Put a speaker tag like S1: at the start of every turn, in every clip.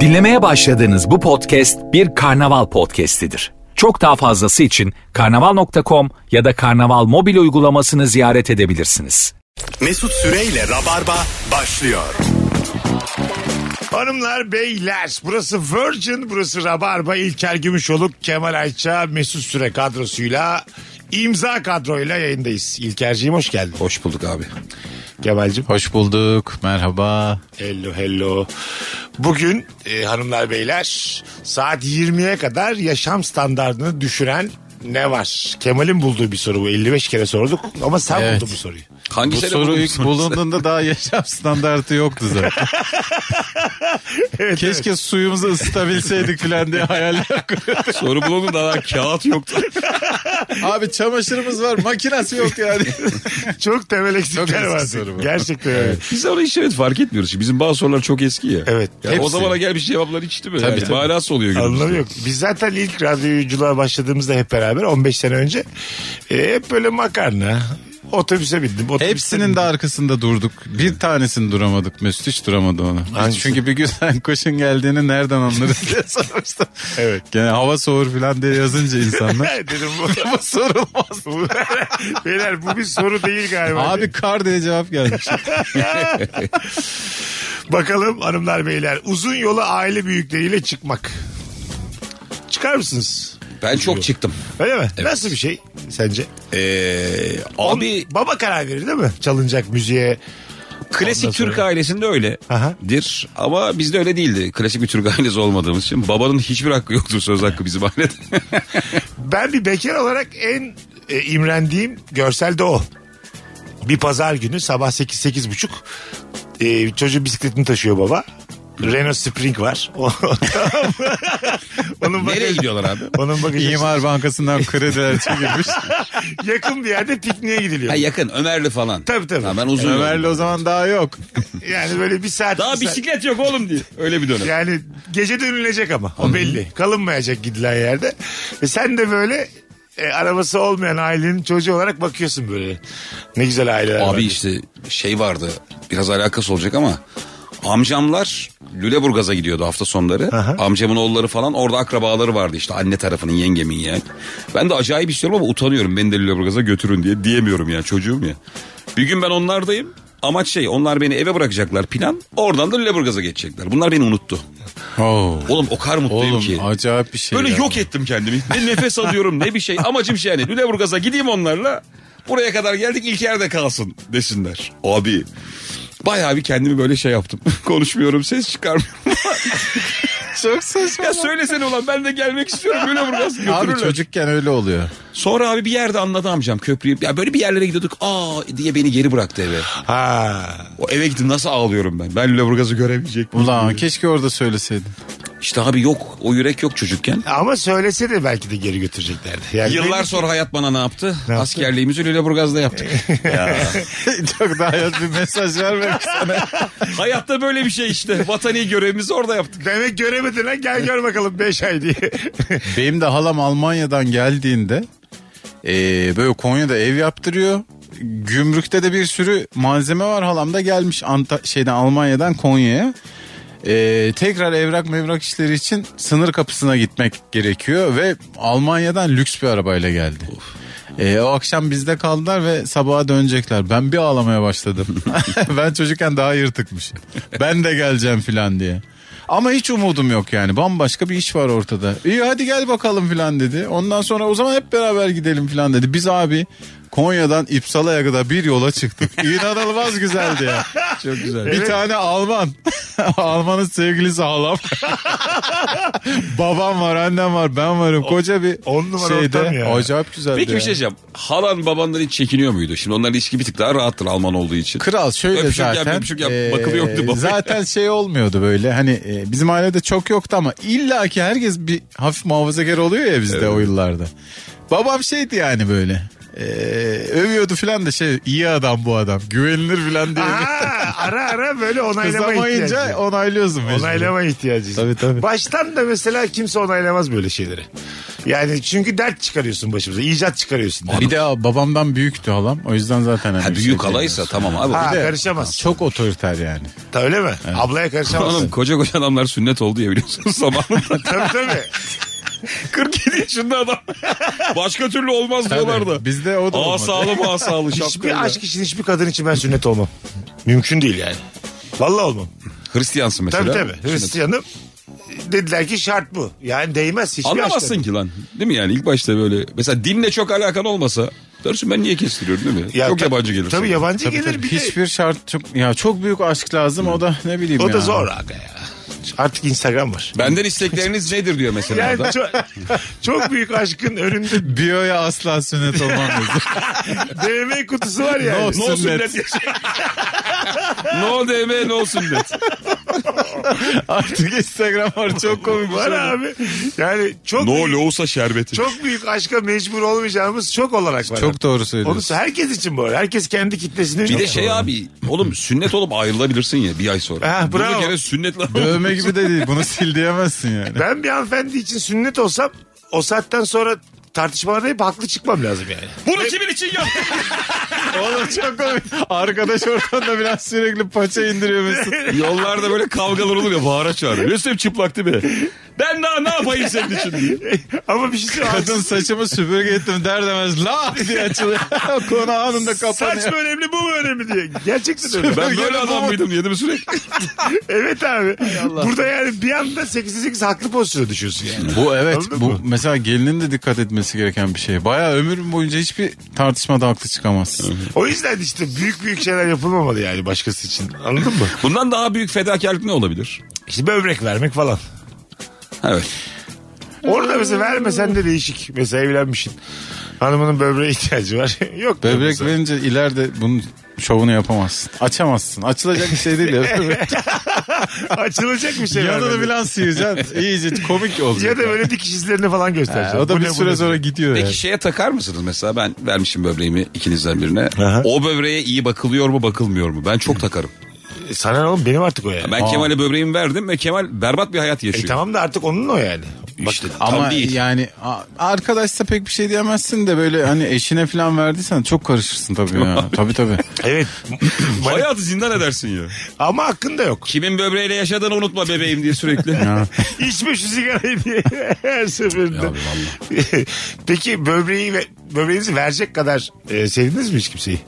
S1: Dinlemeye başladığınız bu podcast bir karnaval podcastidir. Çok daha fazlası için karnaval.com ya da karnaval mobil uygulamasını ziyaret edebilirsiniz.
S2: Mesut Süreyle Rabarba başlıyor.
S3: Hanımlar beyler burası Virgin burası Rabarba İlker Gümüşoluk Kemal Ayça Mesut Süre kadrosuyla imza kadroyla yayındayız. İlkerciğim hoş geldin.
S4: Hoş bulduk abi.
S3: Kemal'cim.
S4: Hoş bulduk. Merhaba.
S3: Hello hello. Bugün e, hanımlar beyler saat 20'ye kadar yaşam standartını düşüren ne var? Kemal'in bulduğu bir soru bu. 55 kere sorduk ama sen
S4: Evet.
S3: buldun bu soruyu.
S4: Bu
S5: Hangi sene
S4: soru
S5: buldun
S4: ilk
S5: bu soruyu?
S4: bulunduğunda daha yaşam standartı yoktu zaten. Keşke suyumuzu ısıtabilseydik falan diye hayaller kuruyorduk.
S5: Soru bulundu da daha kağıt yoktu.
S4: Abi çamaşırımız var makinesi yok yani.
S3: Çok temel eksikler
S4: eski
S3: var.
S4: soru bu.
S3: Gerçekten öyle.
S5: Biz ona işaret fark etmiyoruz. Bizim bazı sorular çok eski ya.
S3: Evet.
S5: Ya o
S4: Hepsi.
S5: zamana gelmiş cevaplar hiç değil mi?
S4: Tabii,
S5: yani,
S4: tabii.
S5: Manası oluyor günümüzde.
S3: Anlamı yok. Biz zaten ilk radyoculuğa başladığımızda hep beraber 15 sene önce e, hep böyle makarna otobüse bindim. Otobüse
S4: Hepsinin
S3: bindim.
S4: de arkasında durduk. Bir tanesini duramadık Mesut hiç duramadı onu. Biz
S3: Hangisi?
S4: Çünkü bir gün sen koşun geldiğini nereden anlarız diye sormuştum.
S3: Evet.
S4: Gene hava soğur falan diye yazınca insanlar.
S3: Dedim bu.
S4: Ama sorulmaz.
S3: bu- Beyler bu bir soru değil galiba.
S4: Abi kar diye cevap gelmiş.
S3: Bakalım hanımlar beyler uzun yola aile büyükleriyle çıkmak. Çıkar mısınız?
S5: Ben çok çıktım.
S3: Öyle mi? Nasıl bir şey sence?
S5: Ee,
S3: On-
S5: abi
S3: baba karar verir değil mi? Çalınacak müziğe.
S5: klasik
S3: Ondan sonra-
S5: Türk ailesinde
S3: Aha.
S5: öyledir. Ama bizde öyle değildi. Klasik bir Türk ailesi olmadığımız için. Babanın hiçbir hakkı yoktur söz hakkı bizim ailede.
S3: Ben bir bekar olarak en e, imrendiğim görsel de o. Bir pazar günü sabah 8 buçuk e, çocuğu bisikletini taşıyor baba. Renault Spring var. Onun
S5: Nereye
S3: bagajı-
S5: gidiyorlar abi?
S3: Onun bagajı
S4: İmar Bankası'ndan krediler çekilmiş.
S3: yakın bir yerde pikniğe gidiliyor.
S5: Ha, yakın Ömerli falan.
S3: Tabii, tabii.
S5: Ha, ben uzun
S4: Ömer'le
S5: yolum.
S4: o zaman daha yok.
S3: Yani böyle bir saat.
S5: Daha
S3: bir saat-
S5: bisiklet yok oğlum diye. Öyle bir dönem.
S3: Yani gece dönülecek ama o belli. Kalınmayacak gidilen yerde. Ve sen de böyle e, arabası olmayan ailenin çocuğu olarak bakıyorsun böyle. Ne güzel aileler var.
S5: Abi işte şey vardı biraz alakası olacak ama amcamlar Lüleburgaz'a gidiyordu hafta sonları.
S3: Aha.
S5: Amcamın oğulları falan orada akrabaları vardı işte anne tarafının yengemin yani. Ben de acayip istiyorum ama utanıyorum beni de Lüleburgaz'a götürün diye diyemiyorum ya çocuğum ya. Bir gün ben onlardayım amaç şey onlar beni eve bırakacaklar plan oradan da Lüleburgaz'a geçecekler. Bunlar beni unuttu. Oğlum o kadar mutluyum
S4: Oğlum
S5: ki.
S4: acayip bir şey.
S5: Böyle
S4: ya.
S5: yok ettim kendimi. Ne nefes alıyorum ne bir şey. Amacım şey yani Lüleburgaz'a gideyim onlarla. Buraya kadar geldik ilk yerde kalsın desinler. Abi bayağı bir kendimi böyle şey yaptım. Konuşmuyorum ses çıkarmıyorum.
S4: Çok saçma.
S5: ya söylesene ulan ben de gelmek istiyorum Lüleburgaz.
S4: Abi
S5: Götürürler.
S4: çocukken öyle oluyor.
S5: Sonra abi bir yerde anladı amcam köprüyü. Ya böyle bir yerlere gidiyorduk aa diye beni geri bıraktı eve.
S3: Ha.
S5: O eve gittim nasıl ağlıyorum ben. Ben Lüleburgaz'ı göremeyecek miyim?
S4: Ulan keşke orada söyleseydin.
S5: İşte abi yok o yürek yok çocukken.
S3: Ama söylese de belki de geri götüreceklerdi. Yani
S5: Yıllar
S3: belli-
S5: sonra hayat bana ne yaptı?
S3: Ne yaptı?
S5: Askerliğimizi Lüleburgaz'da yaptık.
S4: Çok daha hayat bir mesaj vermemiş sana.
S5: Hayatta böyle bir şey işte. Vatani görevimizi orada yaptık.
S3: Demek göremedin ha gel gör bakalım 5 ay diye.
S4: Benim de halam Almanya'dan geldiğinde eee, böyle Konya'da ev yaptırıyor. Gümrükte de bir sürü malzeme var halam da gelmiş Anta şeyden Almanya'dan Konya'ya. Eee, tekrar evrak mevrak işleri için sınır kapısına gitmek gerekiyor ve Almanya'dan lüks bir arabayla geldi. Eee, E, o akşam bizde kaldılar ve sabaha dönecekler. Ben bir ağlamaya başladım. ben çocukken daha yırtıkmışım. Ben de geleceğim filan diye. Ama hiç umudum yok yani. Bambaşka bir iş var ortada. İyi hadi gel bakalım filan dedi. Ondan sonra o zaman hep beraber gidelim filan dedi. Biz abi Konya'dan İpsala'ya kadar bir yola çıktık. İnanılmaz güzeldi ya.
S5: Çok güzel.
S4: Bir tane Alman. Alman'ın sevgilisi halam. Babam var, annem var, ben varım. Koca bir
S3: on numara ortam ya.
S4: Acayip güzeldi.
S5: Peki bir
S4: ya.
S5: şey diyeceğim. Halan babandan hiç çekiniyor muydu? Şimdi onların ilişki bir tık daha rahattır Alman olduğu için.
S4: Kral şöyle
S5: Öpücük yap,
S4: zaten.
S5: öpücük şey yap.
S4: eee,
S5: Bakılıyor muydu babaya?
S4: Zaten şey olmuyordu böyle hani e, bizim ailede çok yoktu ama illaki herkes bir hafif muhafazakar oluyor ya bizde o yıllarda. Babam şeydi yani böyle. eee, övüyordu filan da şey iyi adam bu adam güvenilir filan diye. bir-
S3: ha, ara ara böyle onaylama
S4: Kızamayınca
S3: ihtiyacı.
S4: onaylıyorsun. mecburen.
S3: Onaylama ihtiyacı.
S4: Tabii, tabii.
S3: Baştan da mesela kimse onaylamaz böyle şeyleri. Yani çünkü dert çıkarıyorsun başımıza. icat çıkarıyorsun.
S4: Bir de babamdan büyüktü halam. O yüzden zaten. hani
S5: Ha,
S4: şey
S5: büyük halaysa
S4: demiyoruz.
S5: tamam abi.
S3: Ha
S4: Bir de-
S3: karışamaz.
S4: Çok otoriter yani.
S3: Ta, öyle mi? Ablaya
S5: Oğlum
S3: karışamazsın.
S5: koca koca adamlar sünnet oldu ya biliyorsunuz zamanında.
S3: tabii tabii.
S5: 47 yaşında adam. Başka türlü olmaz diyorlar da.
S4: Tabii, Bizde o da olmadı.
S5: Asalı masalı
S3: Hiçbir
S5: şapkayla.
S3: aşk için hiçbir kadın için ben sünnet olmam. Mümkün değil yani. Vallahi olmam.
S5: Hristiyansın mesela.
S3: Tabii tabii.
S5: Sünnet.
S3: Hristiyanım. Dediler ki şart bu. Yani değmez hiçbir
S5: Anlamazsın
S3: aşka.
S5: ki lan. Değil mi yani ilk başta böyle. Mesela dinle çok alakan olmasa. Dersin ben niye kestiriyorum değil mi?
S3: Ya
S5: çok
S3: ta-
S5: yabancı gelir.
S3: Tabii
S5: sana.
S3: yabancı
S4: Tabii,
S3: gelir
S4: tabii.
S3: bir de.
S4: Hiçbir şart çok ya çok büyük aşk lazım o da ne bileyim
S3: O
S4: ya.
S3: da zor aga ya. Artık Instagram var.
S5: Benden istekleriniz nedir diyor mesela
S3: Yani
S5: adam.
S3: çok, çok büyük aşkın önünde
S4: Biyo'ya asla sünnet olmam lazım.
S3: DM kutusu var yani.
S4: No
S5: No
S4: sünnet.
S5: sünnet. no DM no sünnet.
S4: Artık Instagram var çok komik. bir
S3: Var
S4: şey.
S3: abi. Yani çok büyük,
S5: loğusa şerbeti.
S3: çok büyük aşka mecbur olmayacağımız çok olarak var.
S4: Çok doğru
S3: Onu
S4: söylüyorsun.
S3: herkes için bu arada. Herkes kendi kitlesini.
S5: Bir de şey abi oğlum sünnet olup ayrılabilirsin ya bir ay sonra.
S3: Ha, bravo.
S5: Durduk yere sünnetle
S4: Dövme gibi de değil bunu sil diyemezsin yani.
S3: Ben bir hanımefendi için sünnet olsam o saatten sonra tartışmalarda hep haklı çıkmam lazım yani.
S5: Bunu kimin için yaptın?
S4: Oğlum çok komik. Arkadaş ortamda biraz sürekli paça indiriyor Mesut.
S5: Yollarda böyle kavgalar olur ya bağıra çağırıyor. Yusuf çıplak değil mi? Ben daha ne yapayım senin için diye.
S3: Ama bir şey söyleyeyim.
S4: Kadın saçımı süpürge ettim der demez la diye açılıyor. Konu anında kapanıyor.
S3: Saç mı önemli bu mu önemli diye. Gerçekten öyle.
S5: Ben böyle adam mıydım diye değil mi sürekli?
S3: evet abi. Burada yani bir anda 8'e 8 haklı pozisyona düşüyorsun yani.
S4: Bu evet
S3: Anladın
S4: bu
S3: mı?
S4: mesela gelinin de dikkat etmesi gereken bir şey. Bayağı ömür boyunca hiçbir tartışmada haklı çıkamaz.
S3: O yüzden işte büyük büyük şeyler yapılmamalı yani başkası için. Anladın mı?
S5: Bundan daha büyük fedakarlık ne olabilir?
S3: İşte böbrek vermek falan.
S5: Evet.
S3: Orada mesela vermesen de değişik. Mesela evlenmişsin. Hanımının böbreğe ihtiyacı var. Yok. diyor
S4: Böbrek
S3: mesela.
S4: verince ileride bunun şovunu yapamazsın. Açamazsın. Açılacak bir şey değil. ya.
S3: Açılacak bir şey.
S4: Yanını
S3: vermedi.
S4: falan sıyıracaksın. İyice komik olacak.
S3: Ya da böyle dikiş izlerini falan gösterecek.
S4: Ha, o
S3: Bu
S4: da bir
S3: ne, bu
S4: süre
S3: ne?
S4: sonra gidiyor
S5: Peki
S4: yani.
S5: şeye takar mısınız mesela ben vermişim böbreğimi ikinizden birine.
S3: Aha.
S5: O böbreğe iyi bakılıyor mu bakılmıyor mu? Ben çok takarım.
S3: E, Sana ne oğlum benim artık o yani.
S5: Ben Kemal'e böbreğimi verdim ve Kemal berbat bir hayat yaşıyor.
S4: şey-
S3: E tamam da artık onun o yani.
S5: İşte tam
S4: Ama
S5: değil.
S4: yani a- arkadaşsa pek bir şey diyemezsin de böyle hani eşine falan verdiysen çok karışırsın tabii ya. tabii tabii.
S3: Evet.
S5: Hayatı zindan edersin ya.
S3: Ama hakkın da yok.
S5: Kimin böbreğiyle yaşadığını unutma bebeğim diye sürekli.
S3: İçme şu sigarayı diye her seferinde. Peki böbreği ve, böbreğinizi verecek kadar e, sevdiniz mi hiç kimseyi?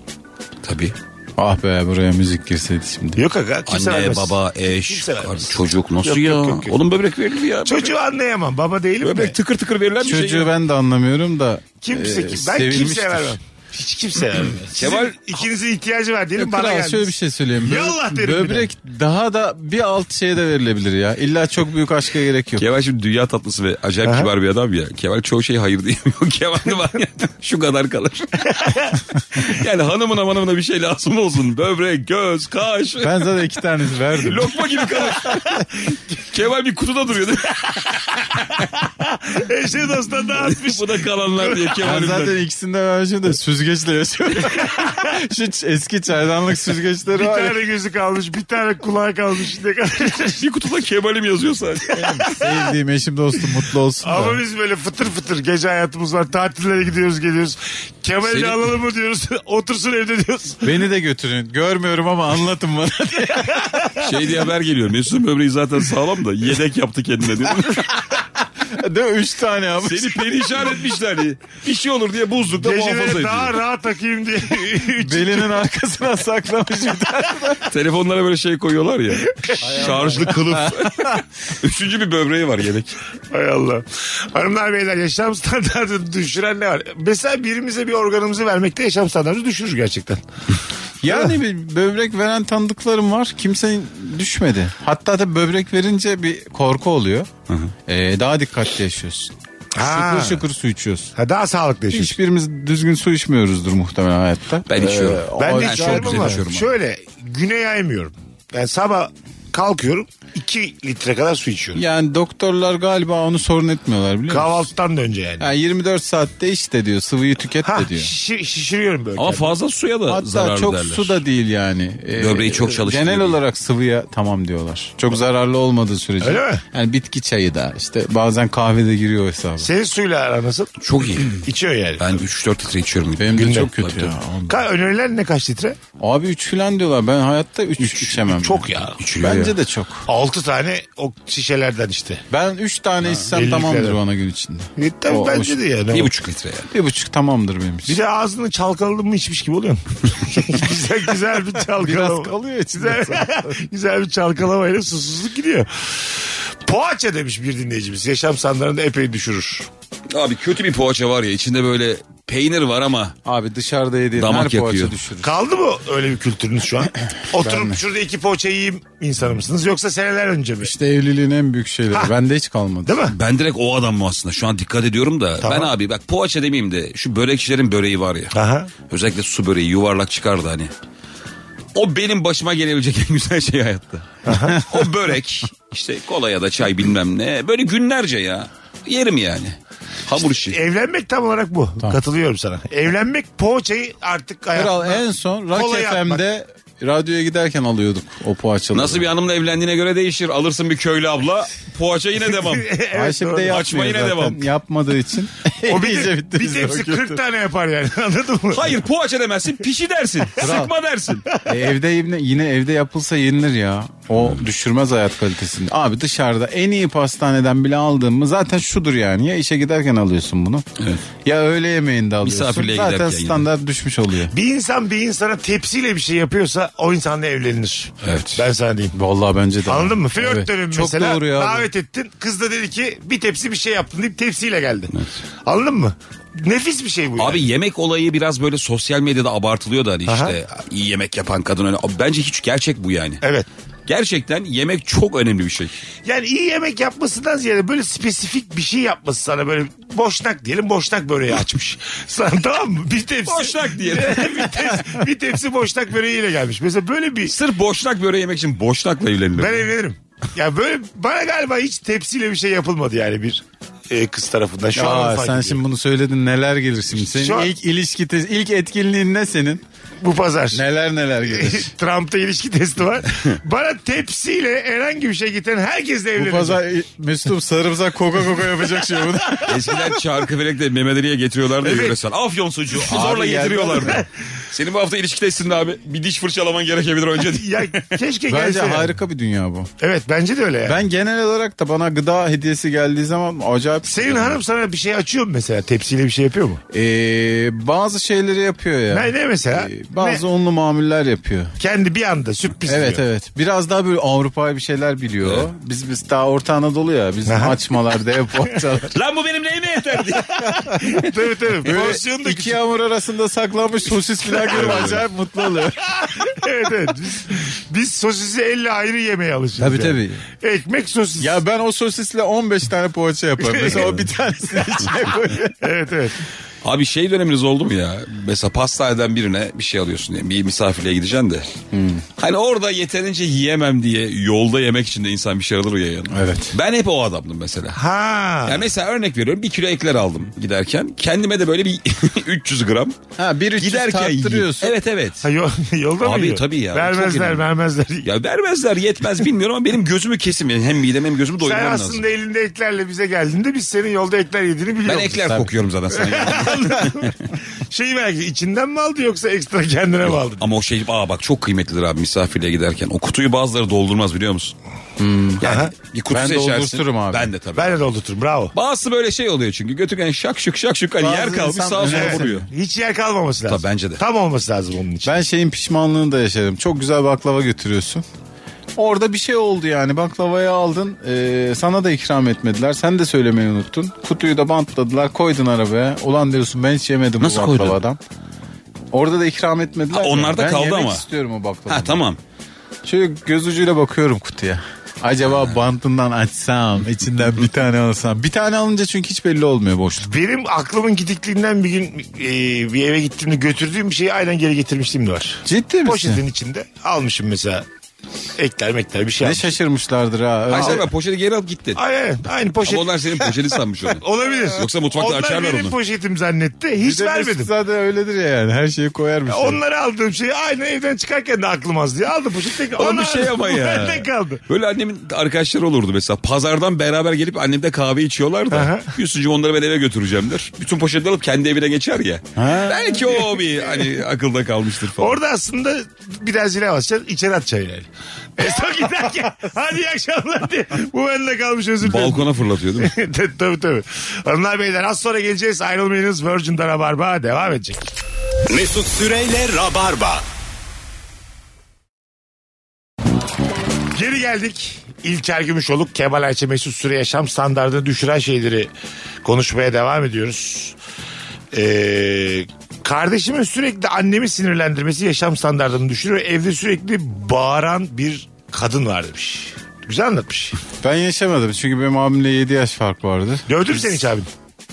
S5: Tabii.
S4: Ah be buraya müzik girseydi şimdi.
S3: Yok aga kimse
S5: Anne,
S3: vermez.
S5: baba, eş,
S3: Kimse vermez.
S5: çocuk nasıl
S3: Yok,
S5: ya?
S3: yok, yok, yok.
S5: Oğlum böbrek verilir ya.
S3: Çocuğu anlayamam. Baba değilim
S5: böbrek
S3: de.
S5: tıkır tıkır verilen bir şey.
S4: Çocuğu
S5: ya.
S4: ben de anlamıyorum da.
S3: Kimse,
S4: e,
S3: kim, ben
S4: sevilmiştir.
S3: kimseye vermem. Hiç kimse vermem. Kemal
S5: Kemal-
S3: ikinizin ihtiyacı var diyelim bana
S4: Kral
S3: gelmiş.
S4: şöyle bir şey söyleyeyim. Bö-
S3: Yallah derim
S4: Böbrek daha da bir alt şeye de verilebilir ya. İlla çok büyük aşka gerek yok.
S5: Kemal şimdi dünya tatlısı ve acayip kibar bir adam ya. Kemal çoğu şey hayır diyemiyor. Kemal var ya şu kadar kalır. yani hanımına manımına bir şey lazım olsun. Böbrek, göz, kaş.
S4: Ben zaten iki tanesi verdim.
S5: Lokma gibi kalır. Kemal bir kutuda duruyor. değil mi?
S3: Eşe dosttan dağıtmış.
S5: şey- Bu da kalanlar diye
S4: Ben
S5: Kemal'in.
S4: zaten ikisini de vermişim de süzgeçle yaşıyorum. Şu ç- eski çaydanlık süzgeçleri
S3: Bir
S4: var ya.
S3: tane gözü kalmış, bir tane kulağı kalmış. Ne kadar
S5: Bir kutuda Kemal'im yazıyor sadece.
S4: Sevdiğim eşim dostum mutlu olsun da.
S3: Ama biz böyle fıtır fıtır gece hayatımız var. Tatillere gidiyoruz geliyoruz. Kemal'i
S5: Senin-
S3: alalım mı diyoruz. Otursun evde diyoruz.
S4: Beni de götürün. Görmüyorum ama anlatın bana.
S5: Şey diye haber geliyor. Mesut'un böbreği zaten sağlam da yedek yaptı kendine diyor.
S4: Değil mi? Üç tane ama.
S5: Seni perişan etmişler. diye. Bir şey olur diye buzlukta muhafaza
S3: Geceleri
S5: ediyor.
S3: daha rahat takayım diye.
S4: Belinin arkasına saklamış bir tane.
S5: Telefonlara böyle şey koyuyorlar ya. Şarjlı kılıf. Üçüncü bir böbreği var yedek.
S3: Hay Allah. Hanımlar beyler yaşam standartını düşüren ne var? Mesela birimize bir organımızı vermekte yaşam standartını düşürür gerçekten.
S4: Yani bir böbrek veren tanıdıklarım var. Kimse düşmedi. Hatta da böbrek verince bir korku oluyor. Ee, daha dikkatli yaşıyorsun.
S3: Ha.
S4: Şıkır şıkır su içiyorsun.
S3: Ha, daha sağlıklı yaşıyorsun.
S4: Hiçbirimiz düzgün su içmiyoruzdur muhtemelen hayatta. Ee,
S5: Ben içiyorum.
S3: Ben
S4: o
S3: de
S5: ben
S4: yüzden-
S5: çok
S3: içiyorum
S5: güzel
S3: ama
S5: içiyorum.
S3: şöyle güne yaymıyorum. Yani sabah kalkıyorum 2 litre kadar su içiyorum.
S4: Yani doktorlar galiba onu sorun etmiyorlar biliyor musun?
S3: Kahvaltıdan da önce yani.
S4: Yani 24 saatte işte diyor sıvıyı tüket
S3: Ha,
S4: de diyor.
S3: şişir- şişiriyorum böyle.
S5: Ama
S3: kendimi.
S5: fazla suya da
S4: Hatta
S5: zararlı
S4: çok
S5: derler.
S4: su da değil yani. Ee,
S5: Böbreği çok çalıştırıyor
S4: Genel
S5: diyor.
S4: olarak sıvıya tamam diyorlar. Çok zararlı olmadığı sürece.
S3: Öyle mi?
S4: Yani bitki çayı da işte bazen kahve de giriyor hesaba.
S3: Senin suyla aran nasıl?
S5: Çok iyi.
S3: İçiyor yani.
S5: Ben 3-4 litre içiyorum.
S4: Benim de
S3: Günde.
S4: çok kötü
S5: Tabii,
S4: ya.
S3: Ka- önerilen ne kaç litre?
S4: Abi 3 filan diyorlar. Ben hayatta 3 içemem.
S3: Çok
S4: yani.
S3: ya.
S5: İçiliyor
S4: Bence
S5: ya.
S4: de çok.
S3: 6 tane o şişelerden işte.
S4: Ben 3 tane içsem
S3: elli
S4: tamamdır
S3: litre.
S4: bana gün içinde.
S3: E, tabii
S4: O-
S3: bence
S4: o-
S3: de yani.
S5: Bir
S3: O-
S5: buçuk litre yani.
S4: Bir buçuk tamamdır benim için.
S3: Bir de ağzını çalkaladın mı içmiş gibi oluyorsun. güzel güzel bir çalkalama.
S4: Biraz kalıyor içinde
S3: Güzel, güzel bir çalkalamayla susuzluk gidiyor. Poğaça demiş bir dinleyicimiz. Yaşam standartını epey düşürür.
S5: Abi kötü bir poğaça var ya içinde böyle peynir var ama
S4: Abi dışarıda yediğin
S5: Damak
S4: her poğaça
S5: yakıyor.
S4: düşürür.
S3: Kaldı mı öyle bir kültürünüz şu an? Oturup şurada iki poğaça yiyeyim insanı mısınız? Yoksa seneler önce mi?
S4: İşte evliliğin en büyük şeyleri.
S3: Ha.
S4: Bende hiç kalmadı.
S3: Değil mi?
S5: ben direkt o adamım aslında. Şu an dikkat ediyorum da.
S3: Tamam.
S5: Ben abi bak poğaça demeyeyim de şu börekçilerin böreği var ya.
S3: Aha.
S5: Özellikle su böreği yuvarlak çıkardı hani. O benim başıma gelebilecek en güzel şey hayatta. o börek işte kola ya da çay bilmem ne. Böyle günlerce ya. Yerim yani. Hamur işi.
S3: Evlenmek tam olarak bu. Katılıyorum sana. Evlenmek poğaçayı artık
S4: Kral
S3: hayatına...
S4: en son Rock
S3: Kolay
S4: FM'de radyoya giderken alıyorduk o poğaçaları.
S5: Nasıl bir hanımla evlendiğine göre değişir. Alırsın bir köylü abla. Poğaça yine devam.
S3: Evet,
S4: Ayşe bir de
S3: doğru.
S4: yapmıyor
S5: Açma yine
S4: zaten.
S5: devam.
S4: Yapmadığı için.
S3: O bir,
S4: İyice
S3: de, bir
S4: bitti bize
S3: tepsi
S4: o kültür.
S3: 40 tane yapar yani anladın mı?
S5: Hayır poğaça demezsin pişi dersin. Sıkma dersin.
S4: E, evde yine, yine evde yapılsa yenilir ya. O düşürmez hayat kalitesini. Abi dışarıda en iyi pastaneden bile aldığın mı zaten şudur yani. Ya işe giderken alıyorsun bunu. Ya öğle yemeğinde alıyorsun.
S5: Misafirliğe
S4: zaten
S5: giderken yine.
S4: standart düşmüş oluyor.
S3: Bir insan bir insana tepsiyle bir şey yapıyorsa o insanla evlenir.
S5: Evet.
S3: Ben sana diyeyim.
S4: Vallahi bence de.
S3: Anladın mı? Flört
S4: Evet.
S3: dönemi
S4: Çok
S3: mesela
S4: doğru ya.
S3: davet ettin. Kız da dedi ki bir tepsi bir şey yaptın deyip tepsiyle geldi. Anladın mı? Nefis bir şey bu
S5: Abi
S3: yani.
S5: yemek olayı biraz böyle sosyal medyada abartılıyor da hani
S3: Aha.
S5: işte iyi yemek yapan kadın öyle. Bence hiç gerçek bu yani.
S3: Evet.
S5: Gerçekten yemek çok önemli bir şey.
S3: Yani iyi yemek yapmasından ziyade böyle spesifik bir şey yapması sana böyle boşnak diyelim boşnak böreği açmış. sana tamam mı? Bir tepsi.
S5: Boşnak diyelim.
S3: bir, tepsi, bir tepsi boşnak böreğiyle gelmiş. Mesela böyle bir
S5: Sırf boşnak böreği yemek için boşnakla evlenilir.
S3: Ben evlenirim. Ya böyle bana galiba hiç tepsiyle bir şey yapılmadı yani bir e, kız tarafından. Şu an
S4: Aa,
S3: fark
S4: sen
S3: ediyorum.
S4: şimdi bunu söyledin neler gelir şimdi? Senin
S3: Şu an-
S4: ilk ilişki, te- ilk etkinliğin ne senin?
S3: bu pazar.
S4: Neler neler gelir?
S3: Trump'ta ilişki testi var. bana tepsiyle herhangi bir şey getiren herkesle
S4: Bu
S3: evleneceğim.
S4: pazar Mesut'um sarımsak koka koka yapacak şey bunu.
S5: Eskiden Çarkıfelek'te Mehmet Ali'ye getiriyorlardı ya
S3: Evet.
S5: yöresel. Afyon sucuğu zorla
S4: Abi geldi.
S5: getiriyorlardı. Senin bu hafta ilişki testinde abi. Bir diş fırçalaman gerekebilir önce. diye.
S3: Ya keşke
S4: Bence
S3: gelse. yani.
S4: harika bir dünya bu.
S3: Evet bence de öyle yani.
S4: Ben genel olarak da bana gıda hediyesi geldiği zaman acayip...
S3: Senin hanım sana bir şey açıyor mu mesela? Tepsiyle bir şey yapıyor mu?
S4: Ee, bazı şeyleri yapıyor ya.
S3: Ne, ne mesela?
S4: Ee, bazı
S3: Ne?
S4: onlu mamuller yapıyor.
S3: Kendi bir anda sürpriz
S4: Evet
S3: diyor.
S4: evet. Biraz daha böyle Avrupa'yı bir şeyler biliyor. Biz biz daha Orta Anadolu ya. Biz
S3: Aha.
S4: açmalar, dev poğaçalar.
S5: Lan bu benim neyime yeter diye.
S3: tabii tabii. Porsiyonu
S4: Böyle
S3: da
S4: Ee, iki
S3: küçük.
S4: hamur arasında saklanmış sosis falan görüp acayip mutlu oluyor.
S3: evet evet. Biz, biz sosisi elle ayrı yemeye alışırız.
S4: Tabii,
S3: yani. Ekmek sosis.
S4: Ya ben o sosisle 15 tane poğaça yaparım. Mesela o bir tanesini içine koyuyor.
S3: Evet evet.
S5: Abi şey döneminiz oldu mu ya? Mesela pastaneden birine bir şey alıyorsun diye. Bir misafirliğe gideceksin de. Hani orada yeterince yiyemem diye yolda yemek için de insan bir şey alır ya yanına.
S4: Evet.
S5: Ben hep o adamdım mesela.
S3: Ha.
S5: Ya mesela örnek veriyorum bir kilo ekler aldım giderken. Kendime de böyle bir 300 gram
S4: Ha bir üç yüz
S5: giderken yiyeyim.
S4: tattırıyorsun.
S5: Evet evet.
S3: Ha, yol, yolda mı
S5: Abi
S3: yiyor?
S5: tabii ya. Çok
S3: Vermezler
S5: önemli.
S3: vermezler.
S5: Ya vermezler yetmez bilmiyorum ama benim gözümü kesim. Yani hem midem hem gözümü
S3: Sen
S5: doyurmam
S3: aslında
S5: lazım.
S3: elinde eklerle bize geldiğinde biz senin yolda ekler yediğini
S5: Ben
S3: biliyoruz.
S5: ekler kokuyorum zaten sana.
S3: Şeyi belki içinden mi aldı yoksa ekstra kendine mi aldı?
S5: ama o şey aa bak çok kıymetlidir abi misafirliğe giderken. O kutuyu bazıları doldurmaz biliyor musun? Yani
S3: Aha.
S5: bir kutu
S4: Hmm. Ben
S5: seçersin.
S4: doldurturum abi.
S5: Ben de tabii.
S3: Ben de doldurturum bravo.
S5: Bazısı böyle şey oluyor çünkü götürken şak şuk şak şuk hani
S4: Bazı
S5: yer kalmış
S4: insan-
S5: sağa sola
S4: Evet.
S5: vuruyor.
S3: Hiç yer kalmaması lazım.
S5: Tabii, bence de.
S3: Tam olması lazım onun için.
S4: Ben şeyin pişmanlığını da yaşadım. Çok güzel baklava götürüyorsun. Orada bir şey oldu yani baklavayı aldın e, sana da ikram etmediler sen de söylemeyi unuttun kutuyu da bantladılar koydun arabaya ulan diyorsun ben hiç yemedim
S5: Nasıl
S4: bu
S5: koydun?
S4: baklavadan. Orada da ikram etmediler.
S5: Ha, onlar da
S4: ben
S5: kaldı
S4: yemek
S5: ama.
S4: istiyorum o baklava.
S5: Ha tamam.
S4: Şöyle göz ucuyla bakıyorum kutuya. Acaba bantından açsam, içinden bir tane alsam. Bir tane alınca çünkü hiç belli olmuyor boşluk.
S3: Benim aklımın gidikliğinden bir gün e, bir eve gittiğimde götürdüğüm bir şeyi aynen geri getirmişliğim de var.
S4: Ciddi misin?
S3: Poşetin içinde almışım mesela Ekler mekler bir şey
S4: Ne
S3: almış.
S4: şaşırmışlardır ha.
S5: Ay sen
S4: Al-
S5: ben poşeti geri alıp gittin.
S3: Ay, evet, aynı poşet.
S5: Ama onlar senin poşeti sanmış onu.
S3: Olabilir.
S5: Yoksa mutfakta
S3: onlar
S5: açarlar
S3: benim
S5: onu.
S3: poşetim zannetti. Hiç
S4: Bize
S3: vermedim.
S4: Zaten öyledir ya yani. Her şeyi koyarmış.
S3: Onları aldığım şeyi aynı evden çıkarken de aklım az diye aldım poşet. Tek,
S5: Oğlum
S3: onu
S5: bir şey
S3: aldım.
S5: ama ya.
S3: Bende kaldı.
S5: Böyle annemin arkadaşları olurdu mesela. Pazardan beraber gelip annemde kahve içiyorlar da.
S3: Aha.
S5: Yusuf'cum onları ben eve götüreceğim der. Bütün poşetleri alıp kendi evine geçer ya.
S4: Ha.
S5: Belki o bir hani akılda kalmıştır falan.
S3: Orada aslında bir daha zile basacaksın. içeri atacaksın yani. E son giderken hadi iyi akşamlar diye. Bu bende kalmış özür dilerim.
S5: Balkona fırlatıyor değil mi?
S3: tabii tabii. Hanımlar beyler az sonra geleceğiz. Ayrılmayınız. Virgin'de Rabarba devam edecek.
S2: Mesut Süreyle Rabarba.
S3: Geri geldik. İlker Gümüşoluk, Kemal Ayça Mesut Süre yaşam standartını düşüren şeyleri konuşmaya devam ediyoruz. Ee, kardeşimin sürekli annemi sinirlendirmesi yaşam standartını düşürüyor. Evde sürekli bağıran bir kadın var demiş. Güzel anlatmış.
S4: Ben yaşamadım çünkü benim abimle 7 yaş fark vardı.
S3: Dövdü mü seni hiç abin?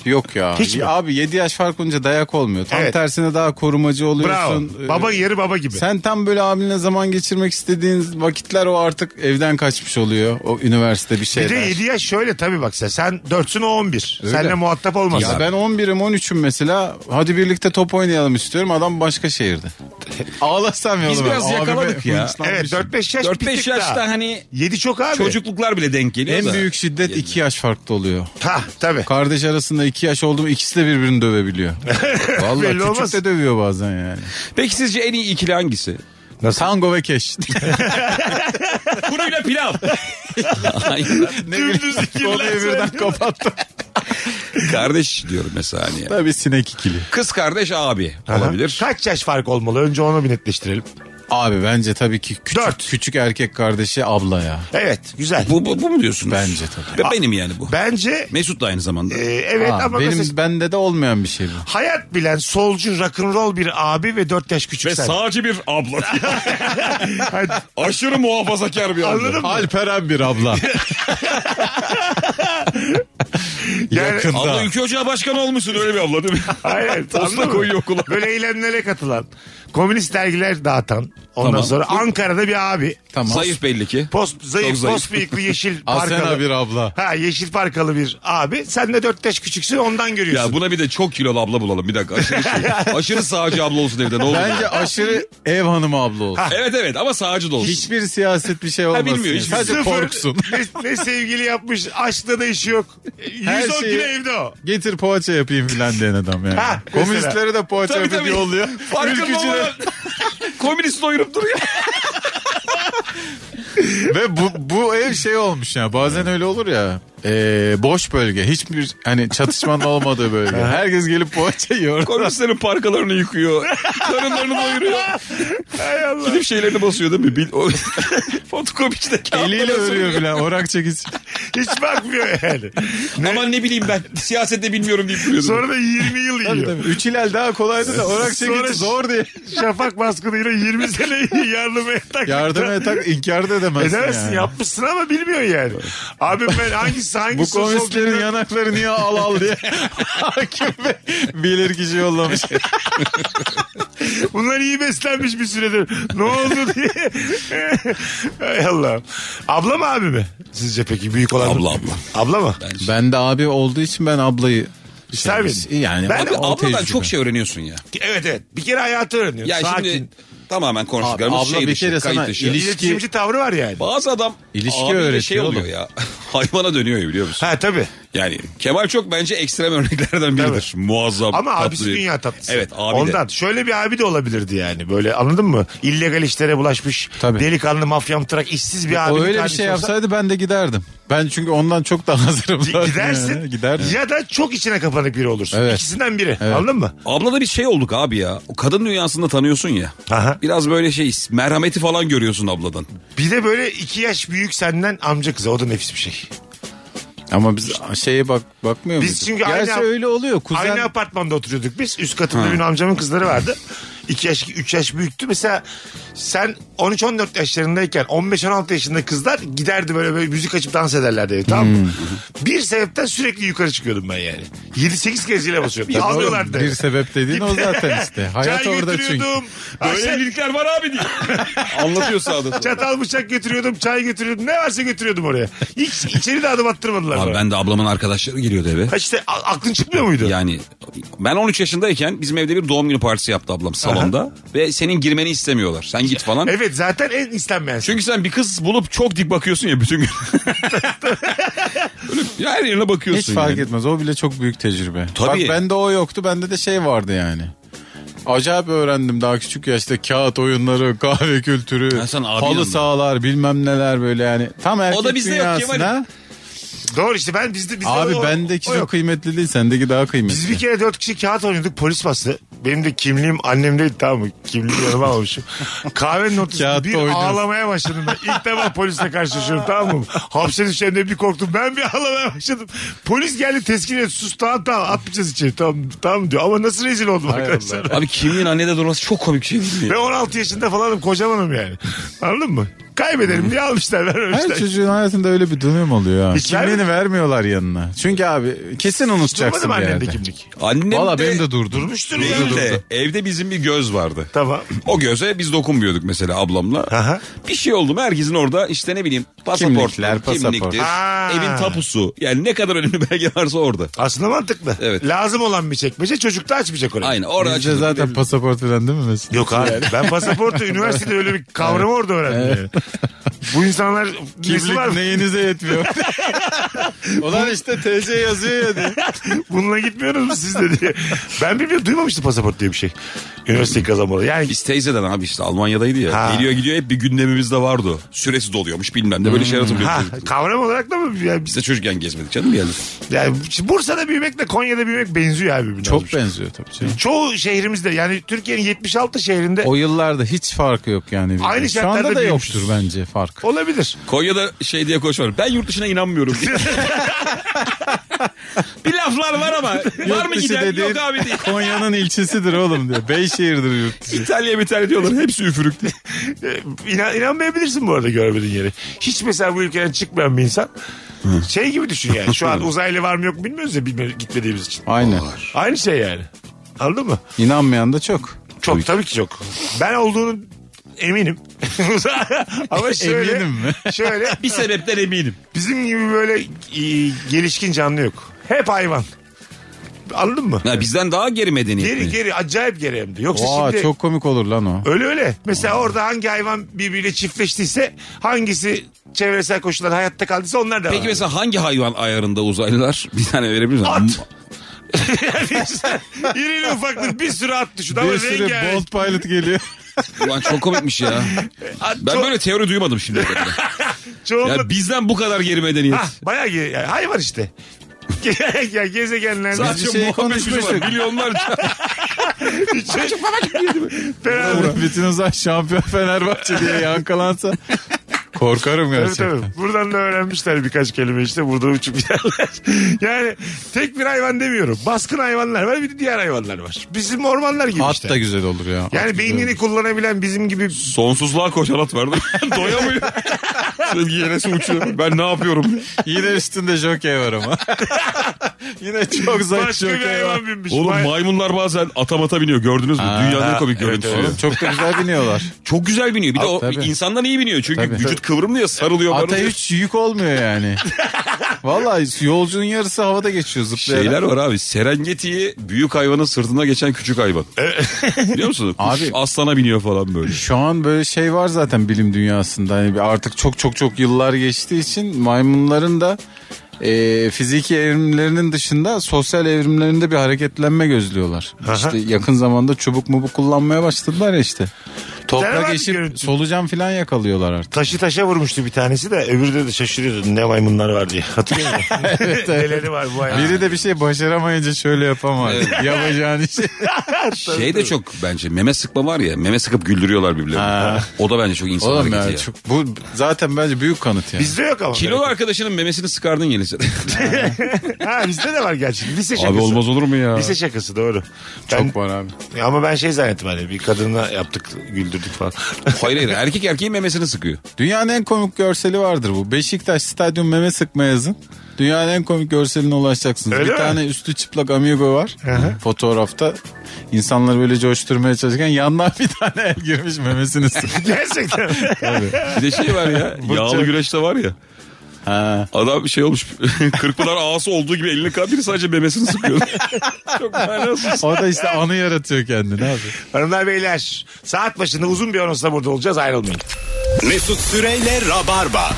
S4: Yok ya.
S3: Hiç mi?
S4: Abi 7 yaş fark olunca dayak olmuyor. Tam
S3: Evet.
S4: tersine daha korumacı
S3: Bravo.
S4: oluyorsun. Ee,
S3: Baba yeri baba gibi.
S4: Sen tam böyle abinle zaman geçirmek istediğin vakitler o artık evden kaçmış oluyor. O üniversite bir
S3: bir
S4: şeyler.
S3: de 7 yaş şöyle tabii bak sen. Sen 4'sün o 11.
S4: Öyle.
S3: Seninle muhatap olmaz.
S4: Ya ben 11'im 13'üm mesela. Hadi birlikte top oynayalım istiyorum. Adam başka şehirde. Ağlasam yoluma.
S5: Biz biraz
S4: Abime
S5: yakaladık ya.
S4: hırslanmışım.
S3: Evet 4-5 yaş 4-5
S5: 4-5
S3: bir
S5: yaşta hani
S3: 7 çok abi.
S5: çocukluklar bile denk geliyor
S4: En
S5: da.
S4: büyük şiddet 2 yaş farkta oluyor.
S3: Ha tabii.
S4: Kardeş arasında 2 yaş oldu mu ikisi de birbirini dövebiliyor. Vallahi
S3: Belli
S4: küçük
S3: olmaz.
S4: de dövüyor bazen yani.
S5: Peki sizce en iyi ikili hangisi?
S4: Tango ve keş.
S5: Kuruyla pilav. Hayır.
S3: Dümdüz
S4: Konuyu
S3: ikililer.
S4: birden kapattım.
S5: Kardeş diyorum mesela hani.
S4: Tabii sinek ikili.
S5: Kız kardeş abi olabilir.
S3: Kaç yaş fark olmalı? Önce onu bir netleştirelim.
S4: Abi bence tabii ki küçük,
S3: Dört.
S4: küçük erkek kardeşi abla ya.
S3: Evet güzel.
S5: Bu, bu, bu mu diyorsunuz?
S4: Bence tabii.
S5: Ve benim yani bu.
S3: Bence
S5: Mesut da aynı zamanda.
S3: e, evet
S4: Aa,
S3: ama
S4: benim
S3: mesela
S4: bende de olmayan bir şey bu.
S3: hayat bilen solcu rock'n'roll bir abi ve 4 yaş küçük
S5: Ve
S3: sen.
S5: sağcı bir abla. Aşırı muhafazakar bir abla.
S3: Anladın mı?
S4: Alperen bir abla. Yakında.
S5: Abla ülke ocağı başkanı olmuşsun öyle bir abla değil mi?
S3: Hayır. anladın mı?
S5: koyuyor okula.
S3: Böyle eylemlere katılan. Komünist dergiler dağıtan. Ondan
S5: Tamam.
S3: sonra Ankara'da bir abi.
S4: Tamam.
S5: Zayıf belli ki.
S3: Post, zayıf,
S5: Çok zayıf.
S3: post bıyıklı yeşil
S4: Asena
S3: parkalı.
S4: bir abla.
S3: Ha yeşil parkalı bir abi. Sen de 4 yaş küçüksün ondan görüyorsun.
S5: Ya buna bir de çok kilolu abla bulalım bir dakika. Aşırı, şey. aşırı sağcı abla olsun evde ne olur.
S4: Bence aşırı ev hanımı abla olsun.
S5: Evet evet ama sağcı da olsun.
S4: Hiçbir siyaset bir şey olmasın.
S5: bilmiyor,
S4: ya.
S5: hiçbir-
S4: Sadece korksun.
S3: Ne, ne sevgili yapmış. Aşkta da işi yok. 110
S4: şeyi-
S3: kilo evde o.
S4: Getir poğaça yapayım filan diyen adam yani.
S3: Ha, mesela.
S4: Komünistlere de poğaça
S5: Tabii,
S4: yapıp
S5: tabii.
S4: yolluyor.
S5: Farkında
S4: Ülkücüler-
S5: olmadan komünist doyurup duruyor.
S4: Ve bu, bu ev şey olmuş ya bazen öyle olur ya Ee, boş bölge hiçbir hani çatışmanın olmadığı bölge. Herkes gelip poğaça yiyor.
S5: Komünistlerin parkalarını yıkıyor. Karınlarını doyuruyor.
S3: Hay Allah.
S5: Gidip şeylerini basıyor değil mi? Bil, o, fotokopiçide kağıtları
S4: Eliyle
S5: soruyor.
S4: örüyor filan orak çekici.
S3: Hiç bakmıyor yani.
S5: Aman ne bileyim ben siyasette bilmiyorum deyip duruyordum.
S3: Sonra da 20 yıl
S4: Tabii,
S3: yiyor.
S4: tabii. Üç hilal daha kolaydı da orak
S3: Sonra-
S4: çekici zor diye.
S3: Şafak baskınıyla 20 sene yardım et tak.
S4: Yardım et tak inkar da edemezsin,
S3: Edemezsin
S4: yani.
S3: yapmışsın ama bilmiyorsun yani. Abi ben hangisi hangisi
S4: Bu komünistlerin
S3: sol-
S4: yanakları niye al al diye hakim bey bilir kişi yollamış.
S3: Bunlar iyi beslenmiş bir süredir. Ne oldu diye. Hay Allah. Abla mı abi mi? Sizce peki büyük olan?
S5: Abla, abla.
S3: Abla mı?
S4: Ben de abi olduğu için ben ablayı şey
S3: İster miydin?
S4: yani
S3: Ben-
S5: Abi
S4: o
S5: abladan
S4: tecrübe.
S5: çok şey öğreniyorsun ya.
S3: Evet evet. Bir kere hayatı öğreniyorsun.
S5: Ya
S3: Sakin.
S5: şimdi tamamen konuştuklarımız
S4: Abi, abla
S5: şey
S4: bir
S5: dışı,
S4: kere sana
S5: kayıt dışı.
S4: ili- ilişki-
S3: İletişimci tavrı var yani.
S5: Bazı adam
S4: İlişki
S5: abiyle şey
S4: öğretiyor
S5: oluyor
S4: oğlum.
S5: ya. Hayvana dönüyor ya biliyor musun?
S3: Ha tabii.
S5: Yani Kemal çok bence ekstrem örneklerden biridir. Muazzam
S3: Ama
S5: tatlı.
S3: abisi dünya tatlısı.
S5: Evet abi
S3: Ondan.
S5: de.
S3: Şöyle bir abi de olabilirdi yani. Böyle anladın mı? İllegal işlere bulaşmış.
S4: Tabii.
S3: Delikanlı mafyam tırak işsiz bir abi.
S4: O öyle bir şey yapsaydı ben de giderdim. Ben çünkü ondan çok daha hazırım. zaten
S3: Gidersin.
S4: yani. Giderdim.
S3: Ya da çok içine kapanık biri olursun.
S4: Evet.
S3: İkisinden biri. Anladın mı?
S5: Abla da bir şey olduk abi ya. O kadın dünyasında tanıyorsun ya.
S3: Aha.
S5: Biraz böyle şey merhameti falan görüyorsun abladan.
S3: Bir de böyle iki yaş büyük senden amca kızı. O da nefis bir şey.
S4: Ama biz şeye bak bakmıyor
S3: Biz
S4: muyduk?
S3: çünkü
S4: Gerçi
S3: aynı-
S4: öyle oluyor. Kuzen
S3: Aynı apartmanda oturuyorduk biz. Üst katında benim amcamın kızları vardı. İki yaş, üç yaş büyüktü. Mesela sen 13-14 yaşlarındayken 15-16 yaşında kızlar giderdi böyle böyle müzik açıp dans ederlerdi. evi, Tamam mı?
S4: Hmm.
S3: Bir sebepten sürekli yukarı çıkıyordum ben yani. 7-8 kez zile basıyordum. Almıyorlardı.
S4: Bir sebep dediğin o zaten işte. Hayat
S3: Çay
S4: orada çünkü.
S3: götürüyordum.
S5: Böyle
S3: Aşağı-
S5: evlilikler var abi diye. Anlatıyor sağda. sola.
S3: Çatal bıçak götürüyordum, çay götürüyordum. Ne varsa götürüyordum oraya. Hiç içeri de adım attırmadılar.
S5: Abi
S3: bana.
S5: ben de ablamın arkadaşları geliyordu eve.
S3: Ha işte a- aklın çıkmıyor muydu?
S5: Yani ben 13 yaşındayken bizim evde bir doğum günü partisi yaptı ablam salonda. Ve senin girmeni istemiyorlar. Sen git falan.
S3: Evet zaten en istenmeyen.
S5: Çünkü sen bir kız bulup çok dik bakıyorsun ya bütün gün. Böyle ya her yerine bakıyorsun.
S4: Hiç fark
S5: yani.
S4: etmez. O bile çok büyük tecrübe.
S5: Tabii.
S4: Bak bende o yoktu. Bende de şey vardı yani. Acayip öğrendim daha küçük yaşta kağıt oyunları, kahve kültürü,
S5: Ha, sen abi
S4: halı
S5: yanında.
S4: sahalar bilmem neler böyle yani. Tam erkek
S5: bizde yok
S4: dünyasına.
S5: Kemal'im.
S3: Doğru işte ben bizde bizde
S4: Abi
S3: o-
S4: bendeki
S3: o
S4: çok
S3: yok.
S4: kıymetli değil sendeki daha kıymetli.
S3: Biz bir kere dört kişi kağıt oynuyorduk polis bastı. Benim de kimliğim annemdeydi tamam mı? Kimliğimi yanıma almışım. Kahvenin ortasında
S4: Kağıtta
S3: bir
S4: oynuyoruz.
S3: ağlamaya başladım ben. İlk defa polisle karşılaşıyorum tamam mı? Hapse düşeceğimde bir korktum. Ben bir ağlamaya başladım. Polis geldi teskin et sus tamam tamam atmayacağız içeri tamam, tamam diyor. Ama nasıl rezil oldum
S4: Hay
S3: arkadaşlar.
S5: Abi kimliğin annede durması çok komik bir şey değil mi?
S3: Ve 16 yaşında falanım kocamanım yani. Anladın mı? Kaybederim diye almışlar
S4: Her
S3: vermemişler.
S4: çocuğun hayatında öyle bir dönem oluyor.
S3: Hiç
S4: Hiç Kimliğini
S3: vermedi-
S4: vermiyorlar yanına. Çünkü abi kesin
S3: Durmadı
S4: unutacaksın
S3: mı
S4: bir
S3: annemde
S4: yerde.
S3: kimlik?
S5: Annem
S4: Valla
S5: de,
S4: benim de durdu.
S3: Durmuştur ya.
S5: benim de evde bizim bir göz vardı.
S3: Tamam.
S5: O göze biz dokunmuyorduk mesela ablamla.
S3: Aha.
S5: Bir şey oldu mu herkesin orada işte ne bileyim pasaport,
S4: Kimlikler, pasaport.
S5: kimliktir,
S3: Ha.
S5: evin tapusu. Yani ne kadar önemli belge varsa orada.
S3: Aslında mantıklı.
S5: Evet.
S3: Lazım olan bir çekmece çocuk da açmayacak orayı.
S5: Aynen orada
S4: Bizde
S5: açıldı.
S4: zaten pasaport falan değil mi mesela?
S3: Yok abi ben pasaportu üniversitede öyle bir kavramı orada öğrendim. yani. Bu insanlar nesi var
S4: Kimlik
S3: mı?
S4: neyinize yetmiyor. Ulan işte TC yazıyor ya diye.
S3: Bununla gitmiyoruz mu siz de diye. Ben bilmiyorum duymamıştım pasaport diye bir şey. Üniversiteyi kazanmalı. Yani
S5: Biz teyzeden abi işte Almanya'daydı ya.
S3: Ha.
S5: Geliyor gidiyor hep bir gündemimizde vardı. o. Süresi doluyormuş bilmem
S4: Hmm.
S5: ne böyle şeyler
S3: ha,
S5: hatırlıyoruz.
S3: kavram olarak da mı? Yani,
S5: Biz de çocukken gezmedik canım yani.
S3: yani şimdi Bursa'da büyümekle Konya'da büyümek benziyor abi. birbirine
S4: Çok
S3: olmuş.
S4: benziyor tabii canım.
S3: Çoğu şehrimizde yani Türkiye'nin 76 şehrinde
S4: O yıllarda hiç farkı yok yani. birbirine.
S3: Aynı
S4: Şu anda
S3: şartlarda
S4: da
S3: büyümüşüz.
S4: yoktur bence fark.
S3: olabilir.
S5: Konya'da şey diye koşuyor. Ben yurt dışına inanmıyorum diye. bir laflar var ama var
S4: Yurt
S5: mı
S4: dışı
S5: giden yok
S4: dediğin
S5: abi diye.
S4: Konya'nın ilçesidir oğlum diyor. Beyşehir'dir yurt dışı.
S5: İtalya bir tane diyorlar hepsi üfürük diye.
S3: Ee, İnan, inanmayabilirsin bu arada görmediğin yeri. Hiç mesela bu ülkeden çıkmayan bir insan şey gibi düşün yani. Şu an uzaylı var mı yok mu bilmiyoruz ya bilmiyoruz, gitmediğimiz için.
S4: Aynen.
S3: Aynı şey yani. Anladın mı?
S4: İnanmayan da çok.
S3: Çok tabii, ki çok. Ben olduğunu eminim. Ama şöyle,
S4: Eminim mi?
S3: şöyle
S5: Bir sebepten eminim.
S3: bizim gibi böyle e, gelişkin canlı yok. Hep hayvan. Anladın mı?
S5: Ya bizden daha geri medeniyet.
S3: Geri
S5: mi?
S3: geri acayip geri hem de. Yoksa
S4: Vaa
S3: şimdi
S4: çok komik olur lan o.
S3: Öyle öyle. Mesela orada hangi hayvan birbiriyle çiftleştiyse hangisi çevresel koşullar hayatta kaldıysa onlar da
S5: Peki mesela hangi hayvan ayarında uzaylılar? Bir tane verebilir misin?
S3: At. İrili ufaklı bir sürü at düşün ama
S4: Bir sürü
S3: rengarenk.
S4: Bolt Pilot geliyor.
S5: Ulan çok komikmiş ya.
S3: At
S5: Ben
S3: ço-
S5: böyle teori duymadım şimdi.
S3: çoğunluk-
S5: ya bizden bu kadar geri medeniyet.
S3: Ha, bayağı ge- yani hayvan işte. ya gezegenlerde
S4: Biz bir şey
S5: Muhammed
S4: konuşmuştuk.
S5: Müslüman, Milyonlarca.
S3: beraber.
S4: Bütün uzay şampiyon Fenerbahçe diye yankalansa korkarım
S3: Tabii
S4: gerçekten.
S3: tabii. Buradan da öğrenmişler birkaç kelime işte. Burada uçup giderler. yani tek bir hayvan demiyorum. Baskın hayvanlar var bir de diğer hayvanlar var. Bizim ormanlar gibi
S4: At
S3: işte.
S4: da güzel olur ya. At
S3: Yani
S4: güzel
S3: beynini
S4: olur.
S3: kullanabilen bizim gibi
S5: Sonsuzluğa koşan at vardı. Doyamıyor. Sevgi yenesi uçuyor. Ben ne yapıyorum?
S4: Yine üstünde jokey var ama. Yine çok zayıf
S3: başka bir
S4: jokey var.
S3: hayvan binmiş.
S5: Oğlum
S3: Vay-
S5: maymunlar bazen ata mata biniyor. Gördünüz mü?
S4: Aa,
S5: Dünyanın en komik
S4: evet,
S5: görüntüsü.
S4: Oğlum çok da güzel biniyorlar.
S5: Çok güzel biniyor. Bir de o
S4: tabii.
S5: insandan iyi biniyor. Çünkü
S4: Tabii.
S5: vücut kıvrımlı ya sarılıyor.
S4: Ata
S5: barınıyor.
S4: hiç yük olmuyor yani. Vallahi yolcunun yarısı havada geçiyor zıplayarak.
S5: Şeyler var abi. Serengeti'yi büyük hayvanın sırtına geçen küçük hayvan. Biliyor musun? Abi.
S4: Abi.
S5: Aslana biniyor falan böyle.
S4: Şu an böyle şey var zaten bilim dünyasında. Hani bir artık çok çok çok yıllar geçtiği için maymunların da e, fiziki evrimlerinin dışında sosyal evrimlerinde bir hareketlenme gözlüyorlar. İşte yakın zamanda çubuk mubuk kullanmaya başladılar ya işte.
S3: Teravan
S4: Toprak
S3: bir
S4: eşip
S3: görüntü.
S4: solucan falan yakalıyorlar artık.
S3: Taşı taşa vurmuştu bir tanesi de öbürü de, de şaşırıyordu ne maymunlar var diye. Hatırlıyor musun? Neleri var bu hayvan.
S4: Biri de bir şey başaramayınca şöyle yapamaz. Yapacağın işi.
S5: Şey de çok bence meme sıkma var ya. Meme sıkıp güldürüyorlar birbirlerini.
S4: Ha.
S5: O da bence çok insan
S4: Oğlum
S5: hareketi
S4: ya,
S5: ya.
S4: çok, bu zaten bence büyük kanıt yani.
S3: Bizde yok ama.
S5: Kilolu arkadaşının memesini sıkardın yenisi.
S3: Ha bizde de var gerçi. Lise şakası.
S5: abi olmaz olur mu ya?
S3: Lise şakası doğru. Ben-
S4: Çok var abi.
S3: Ama ben şey zannettim hani bir kadına yaptık güldür götürdük falan.
S5: Hayır hayır erkek erkeğin memesini sıkıyor.
S4: Dünyanın en komik görseli vardır bu. Beşiktaş stadyum meme sıkma yazın. Dünyanın en komik görseline ulaşacaksınız.
S3: Öyle
S4: bir
S3: mi?
S4: tane üstü çıplak amigo var. Fotoğrafta insanları böyle coşturmaya çalışırken yandan bir tane el girmiş memesini sıkıyor.
S3: Gerçekten.
S5: Bir de şey var ya. yağlı güreşte var ya.
S4: Ha.
S5: Adam şey olmuş. Kırkpınar ağası olduğu gibi elini kan biri sadece memesini sıkıyor. Çok manasız.
S4: O da işte anı yaratıyor kendini abi.
S3: Hanımlar beyler saat başında uzun bir anonsla burada olacağız ayrılmayın.
S2: Mesut Süreyle Rabarba.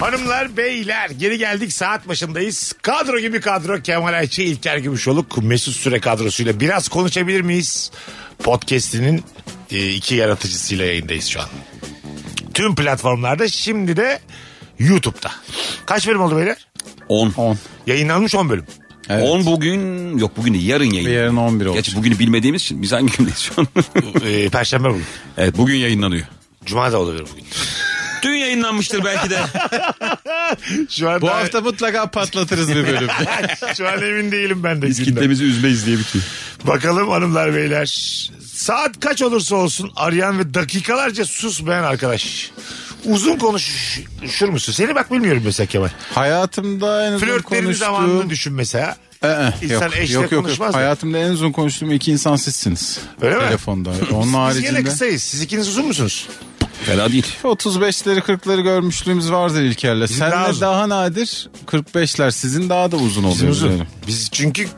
S3: Hanımlar beyler geri geldik saat başındayız. Kadro gibi kadro Kemal Ayçi İlker Gümüşoluk Mesut Süre kadrosuyla biraz konuşabilir miyiz? Podcast'inin e, iki yaratıcısıyla yayındayız şu an. Tüm platformlarda şimdi de YouTube'da. Kaç bölüm oldu beyler?
S5: 10.
S4: 10.
S3: Yayınlanmış 10 bölüm.
S5: 10 bugün yok bugün değil, yarın yayın.
S4: Yarın 11 olmuş.
S5: Gerçi bugünü bilmediğimiz için biz hangi gündeyiz şu an?
S3: E, Perşembe bugün.
S5: evet bugün yayınlanıyor.
S3: Cuma da olabilir bugün.
S5: Dün yayınlanmıştır belki de.
S3: Şu an
S4: Bu
S3: daha-
S4: hafta mutlaka patlatırız bir bölüm.
S3: Şu an emin değilim ben de.
S5: Biz
S3: günden.
S5: kitlemizi üzmeyiz diye bitiyor.
S3: Bakalım hanımlar beyler. Saat kaç olursa olsun arayan ve dakikalarca susmayan arkadaş. Uzun konuşur musun? Seni bak bilmiyorum mesela Kemal.
S4: Hayatımda en uzun
S3: Flörtlerin
S4: konuştuğum...
S3: zamanını düşün mesela.
S4: Ee, yok,
S3: İnsan eşle
S4: yok, yok,
S3: konuşmaz
S4: yok.
S3: da.
S4: Hayatımda en uzun konuştuğum iki insan sizsiniz.
S3: Öyle mi?
S4: Telefonda. Onun
S3: Biz
S4: haricinde.
S3: yine kısayız. Siz ikiniz uzun musunuz?
S5: Fena değil.
S4: 35'leri 40'ları görmüşlüğümüz vardır İlker'le. Senle
S3: daha uzun.
S4: daha, nadir 45'ler sizin daha da uzun oluyor.
S3: Uzun.
S4: yani.
S3: Biz çünkü